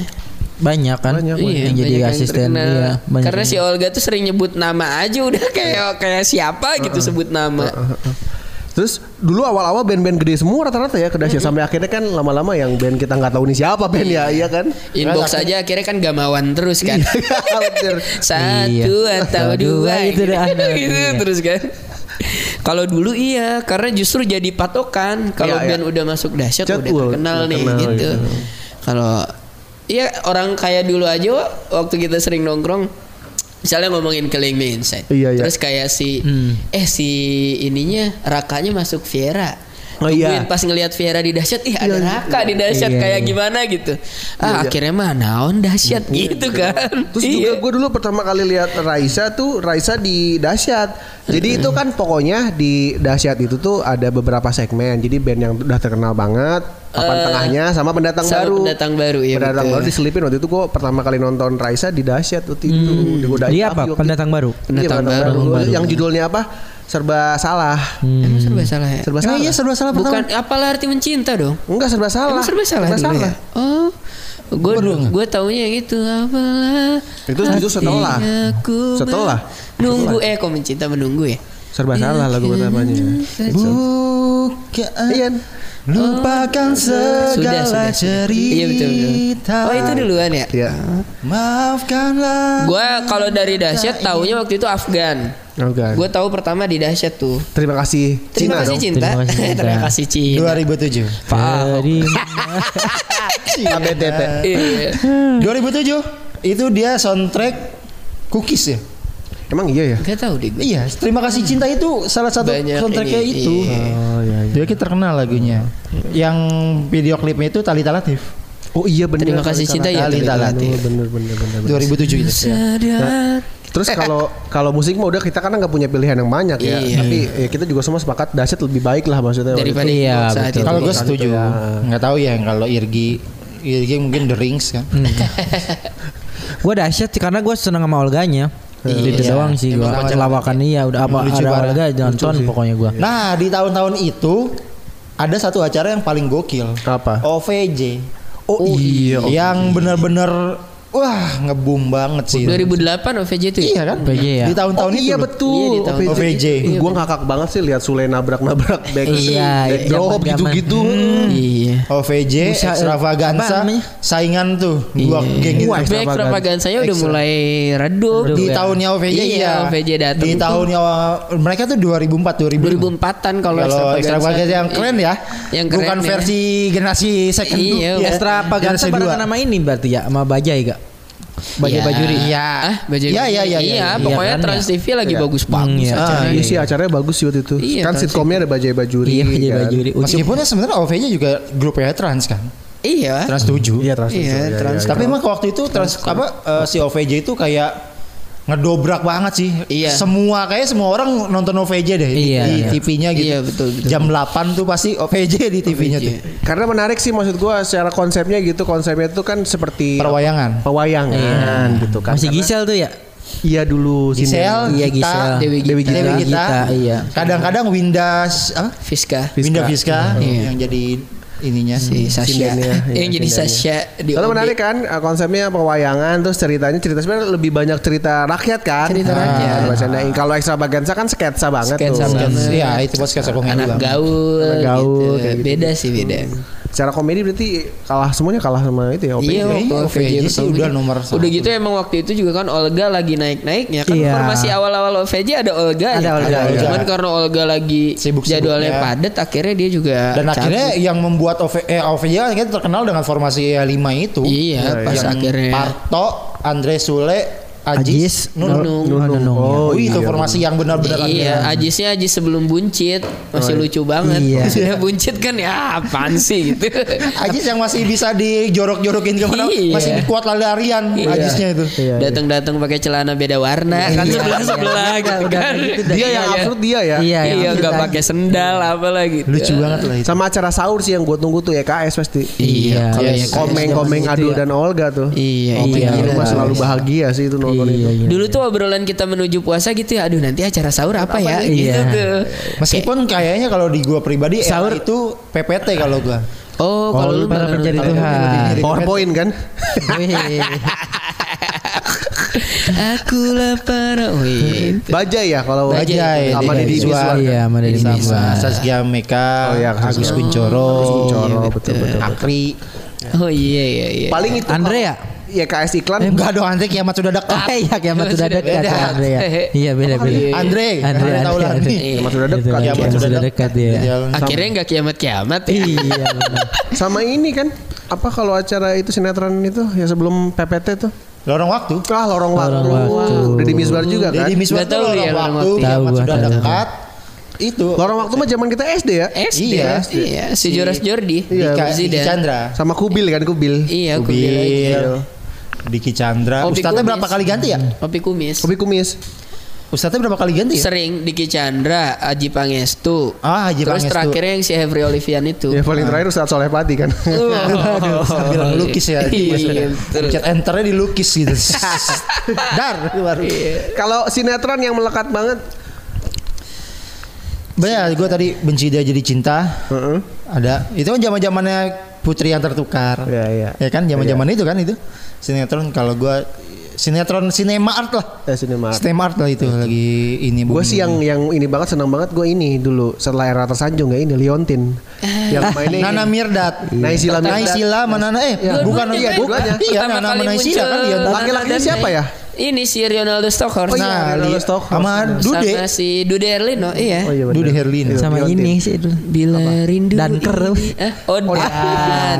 D: Banyak kan
A: Banyak,
D: yang
A: banyak.
C: Iya,
D: jadi
C: banyak yang
D: asisten
C: terkenal.
D: iya, banyak
C: Karena
D: yang-
C: si Olga tuh sering nyebut nama aja udah kayak kayak siapa gitu sebut nama.
A: Terus dulu awal-awal band-band gede semua rata-rata ya ke dahsyat
C: Mm-hmm.
A: sampai akhirnya kan lama-lama yang band kita nggak tahu nih siapa band ya, iya kan?
C: Inbox
B: Karena-
C: aja akhirnya kan gamawan terus
A: *laughs*
C: kan.
A: Iya. Bener.
C: Satu
D: Iya.
C: atau
D: Atau
C: dua
D: dua,
C: *laughs*
D: itu
C: gitu,
D: dah.
C: gitu
D: Iya.
C: terus kan. Kalau dulu iya, karena justru jadi patokan kalau
A: Iya,
C: band udah masuk dahsyat
A: Cet,
C: udah
A: wah,
C: terkenal nih
A: terkenal,
C: gitu.
A: iya.
C: Kalau iya orang kayak dulu aja Wak, waktu kita sering nongkrong misalnya ngomongin Killing Me Inside.
A: Iya, iya.
C: Terus kayak si
D: Hmm.
C: eh si ininya Rakanya masuk Viera.
A: Oh, iya.
C: Tungguin pas ngelihat Viera di dahsyat, ih ada Raka di dahsyat
D: Iya,
C: kayak
D: iya.
C: gimana gitu.
A: Iya,
C: Ah akhirnya mah naon dahsyat gitu kan.
A: Terus
C: Iya.
A: juga gue dulu pertama kali lihat Raisa tuh Raisa di Dahsyat.
C: Mm-hmm.
A: Jadi itu kan pokoknya di Dahsyat itu tuh ada beberapa segmen. Jadi band yang udah terkenal banget, papan tengahnya sama pendatang
C: Eh, sama
A: baru.
C: pendatang baru, iya,
A: Pendatang
C: betul.
A: baru diselipin waktu itu gue pertama kali nonton Raisa di Dahsyat waktu itu.
C: Mm.
A: Digodain
C: Iya,
D: Dia
A: Abi
D: apa?
A: waktu
D: Pendatang baru.
A: itu. Iya, pendatang baru. Yang judulnya apa? Serba salah.
C: Emang serba salah ya?
A: Serba salah.
B: Emang iya serba salah
C: Bukan
B: pertama?
C: apalah arti mencinta dong?
A: Enggak serba salah.
C: Emang serba salah dulu ya? Oh. Gue gue taunya yang itu apalah.
A: Itu itu setelah.
C: Aku
A: Setelah.
C: Nunggu eh kok mencinta menunggu ya?
A: Serba salah lagu pertamanya. Iya.
B: Bukan lupakan
C: Sudah, sudah,
B: segala
C: sudah.
B: cerita.
C: Iya betul, betul. Oh itu duluan ya?
A: Iya.
B: Maafkanlah.
C: Gue kalau dari dahsyat taunya waktu itu Afgan.
A: Oke.
C: Gue tahu pertama di dahsyat tuh.
A: Oh, Terima kasih
C: Terima
A: Cina
C: kasih
A: dong.
C: cinta.
D: Terima kasih,
C: *laughs*
D: Cinta.
C: Terima kasih cinta.
B: 2007.
D: Dari
A: KBTT.
C: Iya.
B: 2007 itu dia soundtrack Cookies ya.
A: Emang iya ya?
C: Gak tahu deh gue.
B: Iya, terima kasih cinta itu salah satu
C: Banyak
B: soundtracknya
C: ini,
B: itu.
C: iya.
A: Oh iya. iya.
B: Dia kan terkenal lagunya. Yang video klipnya itu Talita Latif.
A: Oh iya bener.
C: Terima kasih cinta ya
B: Talita
C: Talita
B: Latif.
A: Bener bener bener. bener.
B: 2007 itu.
C: Sadar.
A: Terus kalau kalau musik mah udah kita karena nggak punya pilihan yang banyak ya.
C: Iya.
A: Tapi ya kita juga semua sepakat dasyat lebih baik lah maksudnya. waktu
C: Daripada
A: itu.
D: Iya,
C: Xbox saat
D: betul.
C: itu.
B: Kalau gue
A: Talita
B: setuju.
A: ya.
B: Nggak tahu ya kalau Irgi Irgi mungkin The Rings kan.
D: Gue dahsyat sih karena gue seneng sama Olganya. Itu
B: Iya.
D: doang sih gue
B: Emang kocak
D: lawakan iya udah apa
B: Lucu
D: ada
B: banget.
D: Olga nonton pokoknya gue.
B: Nah, di tahun-tahun itu ada satu acara yang paling gokil.
A: Apa?
B: OVJ.
A: Oh, iya, OVJ.
B: Yang benar-benar wah ngebum banget sih.
C: 2008 OVJ itu ya?
B: Iya kan?
D: OVJ ya?
B: Di tahun-tahun
A: Oh,
B: itu.
A: iya
B: loh.
A: betul.
C: Iya, di tahun-
B: OVJ.
A: Gue ngakak banget sih lihat Sule nabrak-nabrak back
D: Iya,
A: back
D: iya,
A: drop gitu.
D: zaman-zaman.
A: gitu-gitu.
D: Hmm.
C: Iya.
B: OVJ,
D: Busa-
B: Extravaganza,
D: apa namanya?
B: saingan tuh dua
C: Iya,
B: geng itu.
A: Wah,
C: Back
A: Extravaganza.
C: propagandanya udah mulai redup.
B: Di
D: Iya.
B: tahunnya OVJ
C: Iya,
B: ya. iya.
C: OVJ datang.
B: Di tahunnya mereka tuh 2004 2005.
C: 2004-an kalau
B: Kalau extravaganza
C: Extravaganza.
B: yang keren ya.
C: Yang keren.
B: Bukan
C: ya.
B: versi generasi second
C: Iya,
B: tuh.
C: iya.
D: Extravaganza
B: Generasi
D: barengan
B: dua.
D: nama ini berarti ya sama Bajai gak?
B: Bajai
C: Iya.
B: Bajuri. Iya.
C: Ah, baju
B: Iya, iya, iya,
C: Iya,
B: iya,
D: iya,
C: pokoknya
D: kan,
C: Trans
D: ya.
C: TV lagi Ah,
A: Iya.
C: bagus-bagus
D: Hmm, iya.
C: acaranya.
A: Iya sih acaranya bagus sih waktu itu.
C: Iya,
A: kan
C: tahun
A: sitkomnya ada Bajai Bajuri.
D: Iya Bajai
A: kan?
D: Bajuri. Ucup.
B: Meskipun ya sebenarnya OVJ juga grupnya trans kan.
C: Iya.
B: Trans 7.
A: Iya trans.
C: Iya,
A: Iya,
C: trans.
A: iya,
B: Tapi
A: iya.
B: emang waktu itu trans apa eh, si OVJ itu kayak ngedobrak banget sih.
C: Iya.
B: Semua kayak semua orang nonton OVJ deh di-
D: Iya,
B: di
D: iya.
B: TV-nya gitu.
C: Iya, betul, betul.
B: Jam 8 tuh pasti OVJ di TV-nya tuh.
C: Iya.
A: Karena menarik sih maksud gua secara konsepnya gitu konsepnya itu kan seperti
B: Perwayangan.
A: pewayangan gitu kan.
D: Masih
A: Karena-
D: Gisel tuh ya?
A: Iya dulu sini.
B: Gisel,
D: Iya,
B: kita,
D: Gisel.
B: Dewi
C: Dewi
B: Gita,
C: Gita.
B: Dewi
D: Dewi
B: Gita,
D: Gita, iya.
B: Kadang-kadang Windas apa?
C: Fiska.
A: Fiska.
B: Winda Fiska
C: Iya.
B: yang jadi ininya
C: Si Sasha.
A: sindennya, iya,
C: Yang jadi
A: sindennya.
C: Sasha di
A: Soalnya
C: OB.
A: menarik kan eh, konsepnya pewayangan terus ceritanya cerita sebenarnya lebih banyak cerita rakyat kan.
C: Cerita
A: Ah,
C: rakyat.
A: bercandain. Kalau extravaganza kan sketsa banget
C: Sketsa
A: tuh.
C: banget.
B: Iya, itu pas sketsa komedi
C: Anak
B: Bang.
C: gaul,
A: Anak gaul, kayak
C: gitu.
A: gitu.
C: Beda sih beda.
A: Secara komedi berarti kalah semuanya kalah sama itu ya. OP.
C: Iya,
B: Iya,
C: waktu
B: OVJ
C: OVJ
B: sih
C: pertama
B: udah
C: gitu.
B: nomor satu.
C: Udah gitu emang waktu itu juga kan Olga lagi naik-naiknya kan
D: Iya.
C: formasi awal-awal OVJ ada Olga.
D: Ada
C: ya.
D: Olga,
B: iya.
C: Cuman karena Olga lagi
B: Sibuk-sibuknya.
C: jadwalnya padat akhirnya dia juga
B: Dan
C: cabut.
B: akhirnya yang membuat OV, eh, OVJ kan akhirnya terkenal dengan formasi 5 itu.
C: Iya, pas
B: Yang
C: akhirnya.
B: Parto, Andre Sule, Ajis,
D: Ajis,
B: Nunung.
D: Nunung. Nunung. ya.
B: Oh,
A: iya.
B: itu formasi yang benar-benar
C: Iya, Ajisnya Ajis sebelum buncit masih lucu banget.
D: Iya.
C: Sudah *laughs* buncit kan ya apaan sih gitu.
B: Ajis yang masih bisa dijorok-jorokin kemana
C: Iya.
B: masih kuat lari-larian
C: Iya.
B: Ajisnya itu
D: *laughs* Iya,
C: Datang-datang pakai celana beda warna kan sebelah sebelah
D: Udah,
C: gitu
D: udah
C: kan.
D: gitu dah.
A: Dia yang absurd dia ya.
D: Iya,
C: Iya, nggak pakai sendal gitu. apa lagi.
B: lucu banget lah itu
A: Sama acara sahur sih yang gue tunggu tuh YKS pasti.
C: Iya, kalau
B: Yes.
C: yang kayak-
A: Komeng-komeng Adul
D: iya.
A: dan Olga tuh.
C: Iya,
A: Komeng
C: iya.
A: di rumah
C: Iya.
A: selalu bahagia sih itu nonton itu.
D: Iya, iya.
C: Dulu tuh obrolan kita menuju puasa gitu ya. Aduh nanti acara sahur apa ya? Gitu
D: Iya.
C: tuh.
B: meskipun kayaknya kalau di gua pribadi
D: Sahur.
B: sahur itu PPT kalau gua
C: Oh, kalau
D: Oh,
C: lu
D: lu pernah
C: malah
D: menjadi
C: nonton.
D: Tuhan.
A: PowerPoint kan?
D: Wih.
C: Aku lapar. Oh, iya.
A: Bajai ya kalau
B: Bajai,
A: sama
B: Deddy
A: Deddy
B: Mizwar.
A: Mizwar.
D: Iya, sama Deddy Mizwar.
B: Saskia Meka
A: Oh, iya,
B: Agus
A: Saskia.
B: Kuncoro
A: Coro betul-betul.
B: Akri
C: Oh iya iya iya.
A: Paling itu
D: Andre ya?
A: YKS iklan
B: enggak dong Andre kiamat sudah
C: *laughs*
B: dekat
D: Eh, Iya kiamat sudah
C: Beda.
D: dekat ya, Andre ya. Iya beda beda.
C: Iya.
B: Andre
D: Andre,
B: Andre tahu
D: Andre,
B: lah
D: Andre.
B: nih.
A: Kiamat sudah
D: Gitu
A: dekat.
D: kan,
B: Kiamat
D: Kiamat
B: sudah
D: sudah
B: dekat.
D: dekat ya.
B: Jalan sama-
C: akhirnya nggak kiamat kiamat ya.
D: Iya. benar.
A: Sama ini kan apa kalau acara itu sinetron itu ya sebelum PPT tuh
B: lorong waktu
A: ah lorong waktu
D: Lorong Waktu.
A: Deddy Mizwar juga kan
B: Jadi Miswar
C: Nggak tahu
B: tuh
C: dia
B: lorong
C: lorong
B: waktu
C: waktu. iya,
B: kiamat
D: Tahu gua,
B: sudah
D: tahu.
B: dekat itu
A: lorong waktu mah zaman kita SD ya
C: SD,
B: Iya.
C: iya, si Joras Jordi,
B: Dika,
C: Dika
B: Diki
C: Zidane.
B: Chandra
A: sama Kubil kan Kubil
C: ya. iya, aku bilang
B: Kubil
C: gitu. Oh,
B: Diki Chandra
C: Opi
B: Ustadznya
C: Kumis.
B: berapa kali ganti ya
C: Kopi kumis,
A: Kubil Kumis
B: Ustadznya berapa kali ganti ya
C: sering Diki Chandra, Aji Pangestu,
B: Ah, Aji
C: terus
B: Pangestu.
C: terakhirnya yang si Hevri Olivian itu.
A: ya paling terakhir Ustadz Soleh Pati kan
C: Oh.
B: *laughs* sambil ngelukis ya
C: Iya, betul.
B: Pencet enternya dilukis gitu
C: *laughs*
B: Dar
A: *laughs*
B: baru
C: Iya.
A: kalau sinetron yang melekat banget
B: Bener gue tadi benci dia jadi cinta
A: Heeh.
B: Ada Itu kan zaman zamannya putri yang tertukar
A: Iya, iya.
B: Ya kan zaman zaman itu kan itu Sinetron kalau gue Sinetron cinema art lah
A: eh sinema
B: Cinema art lah itu
A: Iya.
B: lagi ini
A: Gue
B: booming.
A: sih yang yang ini banget senang banget gue ini dulu setelah era tersanjung ya ini Leontin yang
B: *laughs*
A: mainnya
B: Nana Mirdad
A: Naysila Mirdad.
B: Naisila Manana Eh
C: Dua-duanya,
B: bukan
C: Bang.
B: Iya
C: Pertama
B: Nana
C: kali
B: Naisila kan
C: muncul
B: Iya
A: laki-lakinya
C: Nana
A: siapa
C: dan
A: ya?
C: ini si Ronaldo
A: Oh,
C: Stockhorst.
A: iya,
B: Nah,
A: Ronaldo
B: li-
A: Stockhorst.
B: sama
C: Sama
B: Dude. ya? eh,
C: si Dude Erlino, iya.
A: iya
B: Dude Herlino.
D: sama
A: Liontin.
D: ini sih dulu.
C: Bila rindu ini-
D: Dan ker.
C: Eh, oh,
A: Oh,
C: *laughs* dan.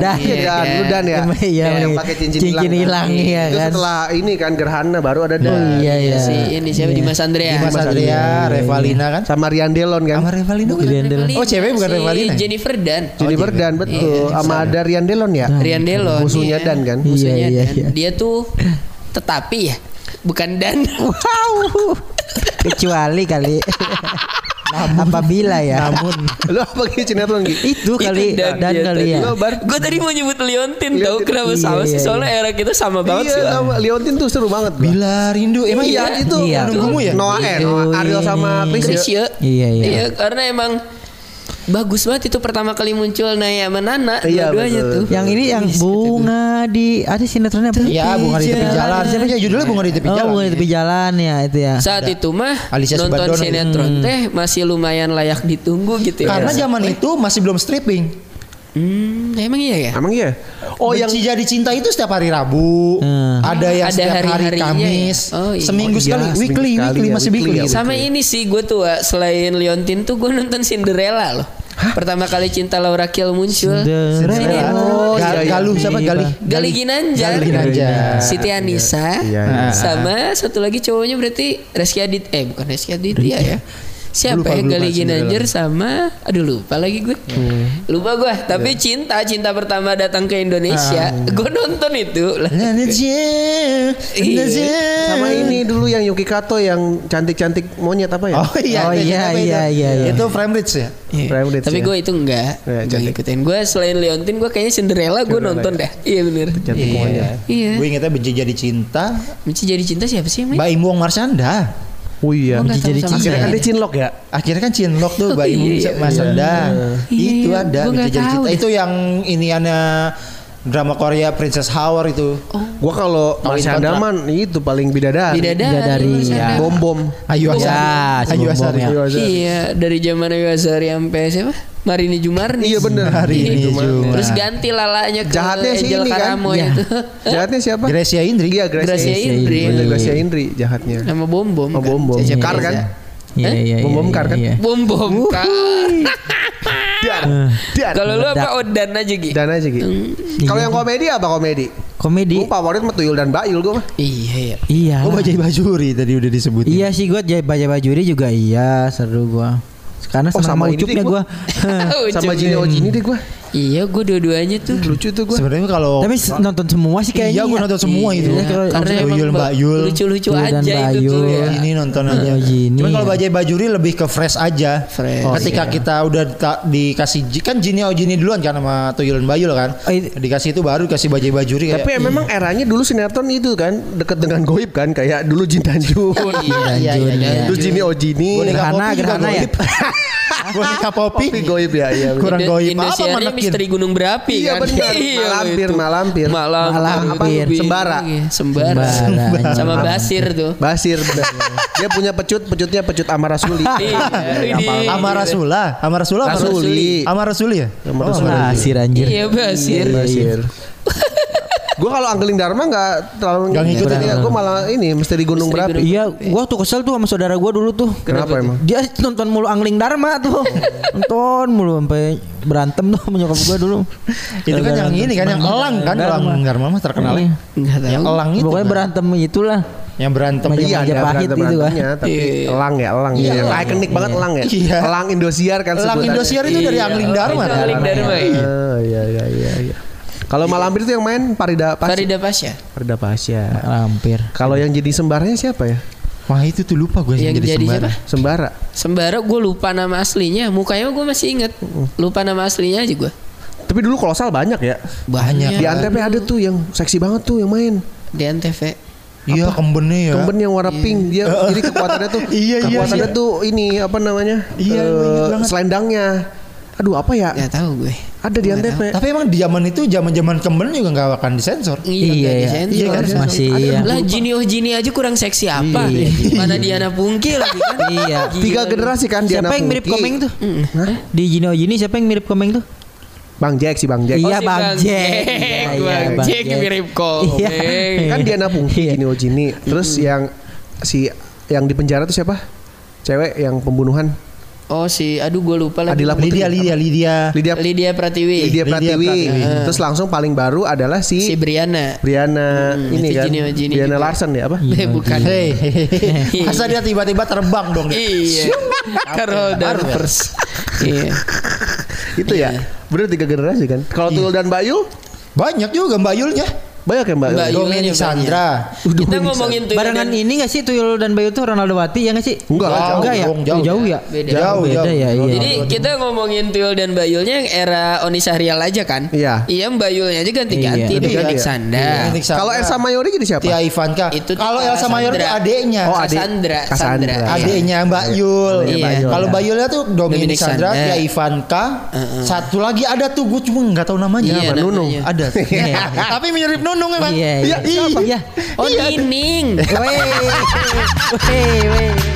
A: Dan, dan,
C: Iya,
A: dan,
C: kan.
A: lu dan ya.
D: Iya,
A: yang
D: iya.
A: pakai cincin,
D: Cincin hilang, iya
A: Itu
D: kan.
A: setelah ini kan gerhana baru ada dan.
D: Oh, iya iya.
C: Si ini siapa Dimas Andrea.
B: Dimas Adria, Revalina kan?
A: Iya, Sama Rian Delon kan.
B: Sama Revalina
D: Di
B: kan?
D: Rendel.
B: Oh, cewek bukan Revalina ya?
C: Si Jennifer Dan. Oh,
A: Jennifer Dan betul. Sama ada Rian Delon ya.
C: Rian Delon.
A: Musuhnya
C: iya.
A: Dan kan?
C: Musuhnya
D: Iya, iya,
C: Dan.
D: iya.
C: Dia tuh tetapi ya bukan Dan.
D: Wow.
C: *laughs*
D: Kecuali kali. Apabila ya. Namun
A: *laughs* Lu apa gitu sinetron gitu?
D: itu kali
C: dan
D: dan
C: dia
D: kali
C: tadi.
D: ya.
A: Lu bar-
C: Gue tadi mau nyebut Leontin
A: Leontin.
C: tau kenapa
D: Iya,
C: sama sih
D: iya,
C: soalnya era kita sama banget sih.
A: Iya, sama Leontin tuh seru banget. gua.
B: Bila rindu emang
C: Iya,
B: iya itu
D: iya.
B: menunggumu ya?
A: Noah eh, Noah Ariel sama Chris.
C: Krisya.
D: Iya, iya.
C: karena emang bagus banget itu pertama kali muncul Naya sama Nana
A: Iya,
C: dua-duanya
A: betul.
C: tuh. Iya,
D: Yang ini yang bunga di ada sinetronnya apa?
B: Iya, bunga di tepi jalan. Ya judulnya bunga di tepi
D: Oh,
B: jalan.
D: bunga di tepi jalan ya itu ya.
C: saat itu mah
B: Alicia
C: nonton
B: Sebadon.
C: sinetron
D: Hmm.
C: teh masih lumayan layak ditunggu gitu ya.
B: Karena zaman itu masih belum stripping.
C: Hmm, emang iya
D: Gitu
C: ya?
A: Emang iya?
B: Oh, yang jadi cinta itu setiap hari Rabu, ada yang
C: Ada
B: setiap hari
C: hari-harinya
B: Kamis,
C: ya? Oh, iya.
B: seminggu
A: Oh, iya,
B: sekali,
A: seminggu
B: weekly,
A: sekali
B: weekly
A: ya,
B: masih
A: weekly
B: weekly.
A: ya,
C: Sama ini sih gue tuh Wak, selain Leontin tuh gue nonton Cinderella loh. Pertama kali cinta Laura Kiel muncul.
D: Cinderella.
A: Oh, iya,
B: Gal-
A: iya.
B: Galuh siapa Galih?
C: Gali Ginanjar,
B: Gali Ginanjar.
C: Siti Anissa,
A: Iya,
B: iya.
C: sama satu lagi cowoknya berarti Reski Adit, eh bukan Reski Aditya ya. Siapa
B: Lupa,
C: ya
B: lupa,
C: Gali
B: Cinderella.
C: Ginanjar sama, aduh lupa lagi gue, lupa gue. Tapi cinta cinta pertama datang ke Indonesia, gue nonton itu lah. Iya.
A: Sama ini dulu yang Yuki Kato yang cantik-cantik monyet apa ya?
B: Oh iya,
D: Oh,
B: itu
D: iya,
B: siapa itu?
D: iya, iya, iya.
B: Itu frame rich ya.
C: Iya.
A: Prime Dates
C: Tapi
A: ya.
C: gue itu enggak,
A: Iya,
C: enggak
A: cantik.
C: ngikutin. Gue selain Leontin, gue kayaknya Cinderella gue nonton dah. Iya bener.
A: Cantik monyet.
C: Iya.
B: Gue ingetnya benci jadi cinta,
C: Mici jadi cinta siapa sih emang?
B: Mbak Im Wong Marsanda.
A: Oh iya.
C: Gua nggak tahu
D: jadi
C: sama
A: Akhirnya kan
C: sekali.
A: dia cinlok ya?
B: Akhirnya kan cinlok tuh Mbak Im Wong
C: Iya,
B: Marsanda.
C: Iya,
B: Itu
C: iya,
B: ada
C: gua
B: benci
C: nggak
B: jadi
C: tahu
B: cinta.
C: deh.
B: Itu yang iniannya drama Korea Princess Hour itu.
C: Oh,
A: Gua kalau
B: Kawin
A: Mas
B: kontrak.
A: Andaman itu paling bidadari. iya.
C: Bidadari.
D: Bidadari,
C: Marsanda.
D: ya.
A: Bom bom.
B: Ayu
D: Ya,
B: Asari.
D: si
B: Ayu
D: Bom Bom
B: Asari.
D: ya.
A: Iya, Zara.
C: Iya, dari zaman Ayu Azhari sampai siapa? Marini Jumarni.
A: Iya bener.
B: Hari ini
A: Iya,
B: juga.
C: Terus ganti lalanya ke
A: Jahatnya sih
C: Angel
A: ini kan?
C: Karamo
A: Iya.
C: itu. *laughs*
A: Jahatnya siapa?
B: Gracia Indri.
A: Iya, Gracia,
C: Gracia Indri.
A: Bener, Gracia Indri jahatnya.
C: Nama Bom Bom.
A: Oh,
C: kan?
A: Bom Bom.
C: Cecep
A: Kar
C: Reza.
A: kan?
D: Iya,
C: Hah?
D: iya, iya.
A: Membongkar kan?
D: iya.
C: Bom Bom Kar.
A: Dan, dan,
C: Eh. Kalau lu Hmm.
D: Meledak.
C: apa Odan aja Gi?
A: dan aja gitu. Kalau yang komedi apa komedi?
D: Komedi.
A: Gue favorit mah Tuyul dan Bail gue mah.
C: Iya
A: *laughs*
C: ya.
D: Iya.
B: Oh
D: lah.
B: Bajai Bajuri tadi udah disebutin.
D: Iya sih gua jadi baca bajuri juga iya seru gua. Karena
A: Oh,
D: senang
A: sama
D: sama
A: ini
D: ucupnya
A: deh
D: gua.
A: gua.
B: *laughs*
A: Sama Jini Ojini deh gue.
C: Iya, gue dua-duanya tuh.
A: Lucu tuh gue.
B: Hmm. Sebenarnya kalau
D: Tapi s- nonton semua sih kayaknya.
B: Oh. Iya, gua nonton semua itu.
D: Iya, kalau-
C: Karena
B: Maksudnya
C: emang
B: Yul, Mbak Yul.
C: lucu-lucu
D: Yul
C: aja
D: dan Mbak
C: itu tuh
D: Yul.
C: ya.
B: ini nonton
D: Iya, Iya.
B: aja.
D: gini.
B: Cuman kalau Bajai Bajuri lebih ke fresh aja. Oh,
C: Fresh.
B: Ketika kita udah ta- dikasih ji- kan Jini Ojini duluan kan sama Tuyul dan Bayul kan.
D: Oh, itu-
B: Dikasih itu baru dikasih Bajai Bajuri kayak
A: Tapi ya memang eranya dulu sinetron itu kan deket dengan goib kan kayak dulu Jin Tanjung,
B: Iya, iya, iya.
A: dulu Jini Ojini,
B: Boneka
D: Gerhana,
B: Poppy juga
D: gerhana ya.
B: goib. *laughs*
D: *laughs*
B: Boneka Poppy.
A: Tapi goib ya iya. bener.
B: Kurang
C: Indo-
B: goib. Apa
C: Indosiarnya
B: menekin?
C: misteri Gunung Berapi
A: Iya
C: kan. *laughs*
A: benar. Malampir,
C: itu.
A: malampir.
C: Malam,
D: Malampir.
C: Apa?
A: Sembara.
C: Iya, Sembara.
D: Sembara.
C: Sama Basir
A: *laughs*
C: tuh.
A: Basir. bener. Dia punya pecut, pecutnya pecut Amara
B: *laughs*
A: Suli.
C: Iya, ini.
B: Amara Sula, Amara Sula, Amara
A: Rasuli.
B: Suli. Amara Suli ya?
A: Amara
B: Oh,
A: Suli.
D: Ah, si Ranjir.
C: Iya, Basir.
A: Basir. gue kalau Angkeling Dharma nggak terlalu
B: Nggak ngikutin.
A: Gue malah ini misteri gunung
C: Misteri
A: berapi.
D: Iya, gua tuh kesel tuh sama saudara gua dulu tuh.
A: Kenapa emang?
D: Dia nonton mulu Angling Dharma
B: *laughs*
D: tuh. nonton mulu sampai berantem tuh sama nyokap gua dulu.
B: *laughs* Itu kan yang ini kan yang elang kan, elang Dharma mah terkenalnya.
C: Enggak
B: Yang
C: tahu.
B: elang itu.
D: Pokoknya
B: kan.
D: berantem itulah.
B: Yang berantem
D: Iya,
A: Iya, ada
D: Majapahit itu kan.
A: berantem-berantemnya, tapi
C: Iya.
A: elang ya, elang.
B: gitu Iya,
A: Iya,
B: elang.
A: ikonik banget elang ya.
B: Iya.
A: Elang Indosiar kan
B: Elang
A: sebutannya.
B: Indosiar itu dari
C: Iya,
B: Angling
C: elang
B: Dharma.
C: itu
A: kan?
C: Angling Dharma, iya.
A: Oh, iya, iya, iya, iya. Kalau Malampir itu yang main Parida Pasya.
C: Farida Pasha.
A: Parida Pasya.
D: Hampir.
A: Kalau yang jadi sembaranya siapa ya?
B: Wah itu tuh lupa gue
C: Yang jadi
B: sembara.
C: siapa?
A: Sembara.
C: Sembara gue lupa nama aslinya. Mukanya gue masih inget. Lupa nama aslinya aja gue.
A: Tapi dulu kolosal banyak ya.
B: Banyak.
A: Di Antep ada tuh yang seksi banget tuh yang main.
C: Di Antv.
B: Iya kembennya ya.
A: Kemben yang warna pink dia jadi kekuatannya tuh
B: Iya, iya,
A: kekuatannya
B: iya.
A: tuh ini apa namanya?
B: Iya,
A: Eh,
B: gua ingat banget.
A: selendangnya. Aduh apa ya?
C: Gak tahu gue.
A: Ada di Antep. ya.
B: Tapi emang di zaman itu zaman-zaman kemben juga nggak akan disensor.
D: Iya,
C: nggak
D: iya.
C: disensor.
D: Iya, kan,
C: Ada-
D: masih,
C: ada-
D: iya.
C: Lah Jini oh Jini aja kurang seksi apa? Mana Diana Pungki lagi kan?
D: *laughs*
C: Mm.
D: Iya.
C: Gila.
A: Tiga generasi kan
D: Siapa
B: Iya.
A: Diana
D: yang mirip
A: Pungki.
D: Komeng tuh? Di Jino Jini siapa yang mirip Komeng tuh?
A: Bang Jack sih Bang Jack.
C: Oh,
D: Iya,
C: si
D: Bang Jack. Iya,
C: Jack,
D: iya,
C: Bang
D: Bang
C: Jack
D: Jack.
C: mirip komik.
D: Iya.
A: Kan Diana Pungki, Gini Ojini. Terus yang si yang di penjara tuh siapa? Cewek yang pembunuhan.
C: Oh si, aduh gue lupa lagi.
A: Adila Putri.
B: Lydia, Lydia, Ah, Lydia.
A: Lydia,
C: Lydia Pratiwi.
A: Lydia Pratiwi.
B: Pratiwi.
A: Terus langsung paling baru adalah
C: Si
A: si,
C: Briana.
A: Briana ini
C: itu
A: kan.
C: Gini Ojini
A: Briana
C: juga.
A: Larsen ya apa?
C: Eh, bukan.
B: Hei, masa dia tiba-tiba terbang dong? dia?
C: Iya. Carol Danvers. Iya.
A: *laughs* Itu ya. Bener tiga generasi kan. Kalau Tulul dan Bayu
B: Banyak juga Mbak Yulnya.
A: banyak ya Mbak.
C: Mbak Yul.
B: Dominic
C: banyak.
B: Sandra.
C: Kita ngomongin tuh
D: Barengan ini gak sih Tuyul dan Bayu tuh Ronaldo Wati ya gak sih?
A: Enggak lah,
D: enggak ya?
B: dong,
D: Jauh,
B: jauh.
D: ya?
C: Beda.
B: Jauh,
D: beda
B: jauh.
D: ya. Iya.
C: Jadi kita ngomongin Tuyul dan Bayulnya yang era Oni Sahrial aja kan?
A: Iya.
C: Iya Bayulnya aja ganti-ganti
D: Iya,
C: Itu
A: ganti-ganti
C: Dominic
A: ya.
C: Sandra.
B: Dominic Iya, Sandra.
A: Kalau Elsa Mayori jadi siapa?
B: Tia Ivanka.
C: Itu tuh
B: Kalau Elsa
C: Sandra.
B: Mayor itu adeknya.
A: Oh, adik.
C: Cassandra,
A: Cassandra.
C: Cassandra.
A: Iya.
B: Adeknya Mbak Yul.
C: Iya. Mbak Yul,
B: Kalau
C: ya.
B: Mbak Yulnya tuh Dominic
C: Dominic
B: Sandra,
C: Sandra.
B: Tia Ivanka. Satu lagi ada tuh gue cuma nggak tahu namanya.
C: Iya,
B: Apa?
C: namanya.
B: Nunung. Ada. Tapi mirip Nunung emang. Ya,
D: Iya, iya.
B: Iya.
D: Iya.
C: Oh Nining.
D: Wey. Wey, wey.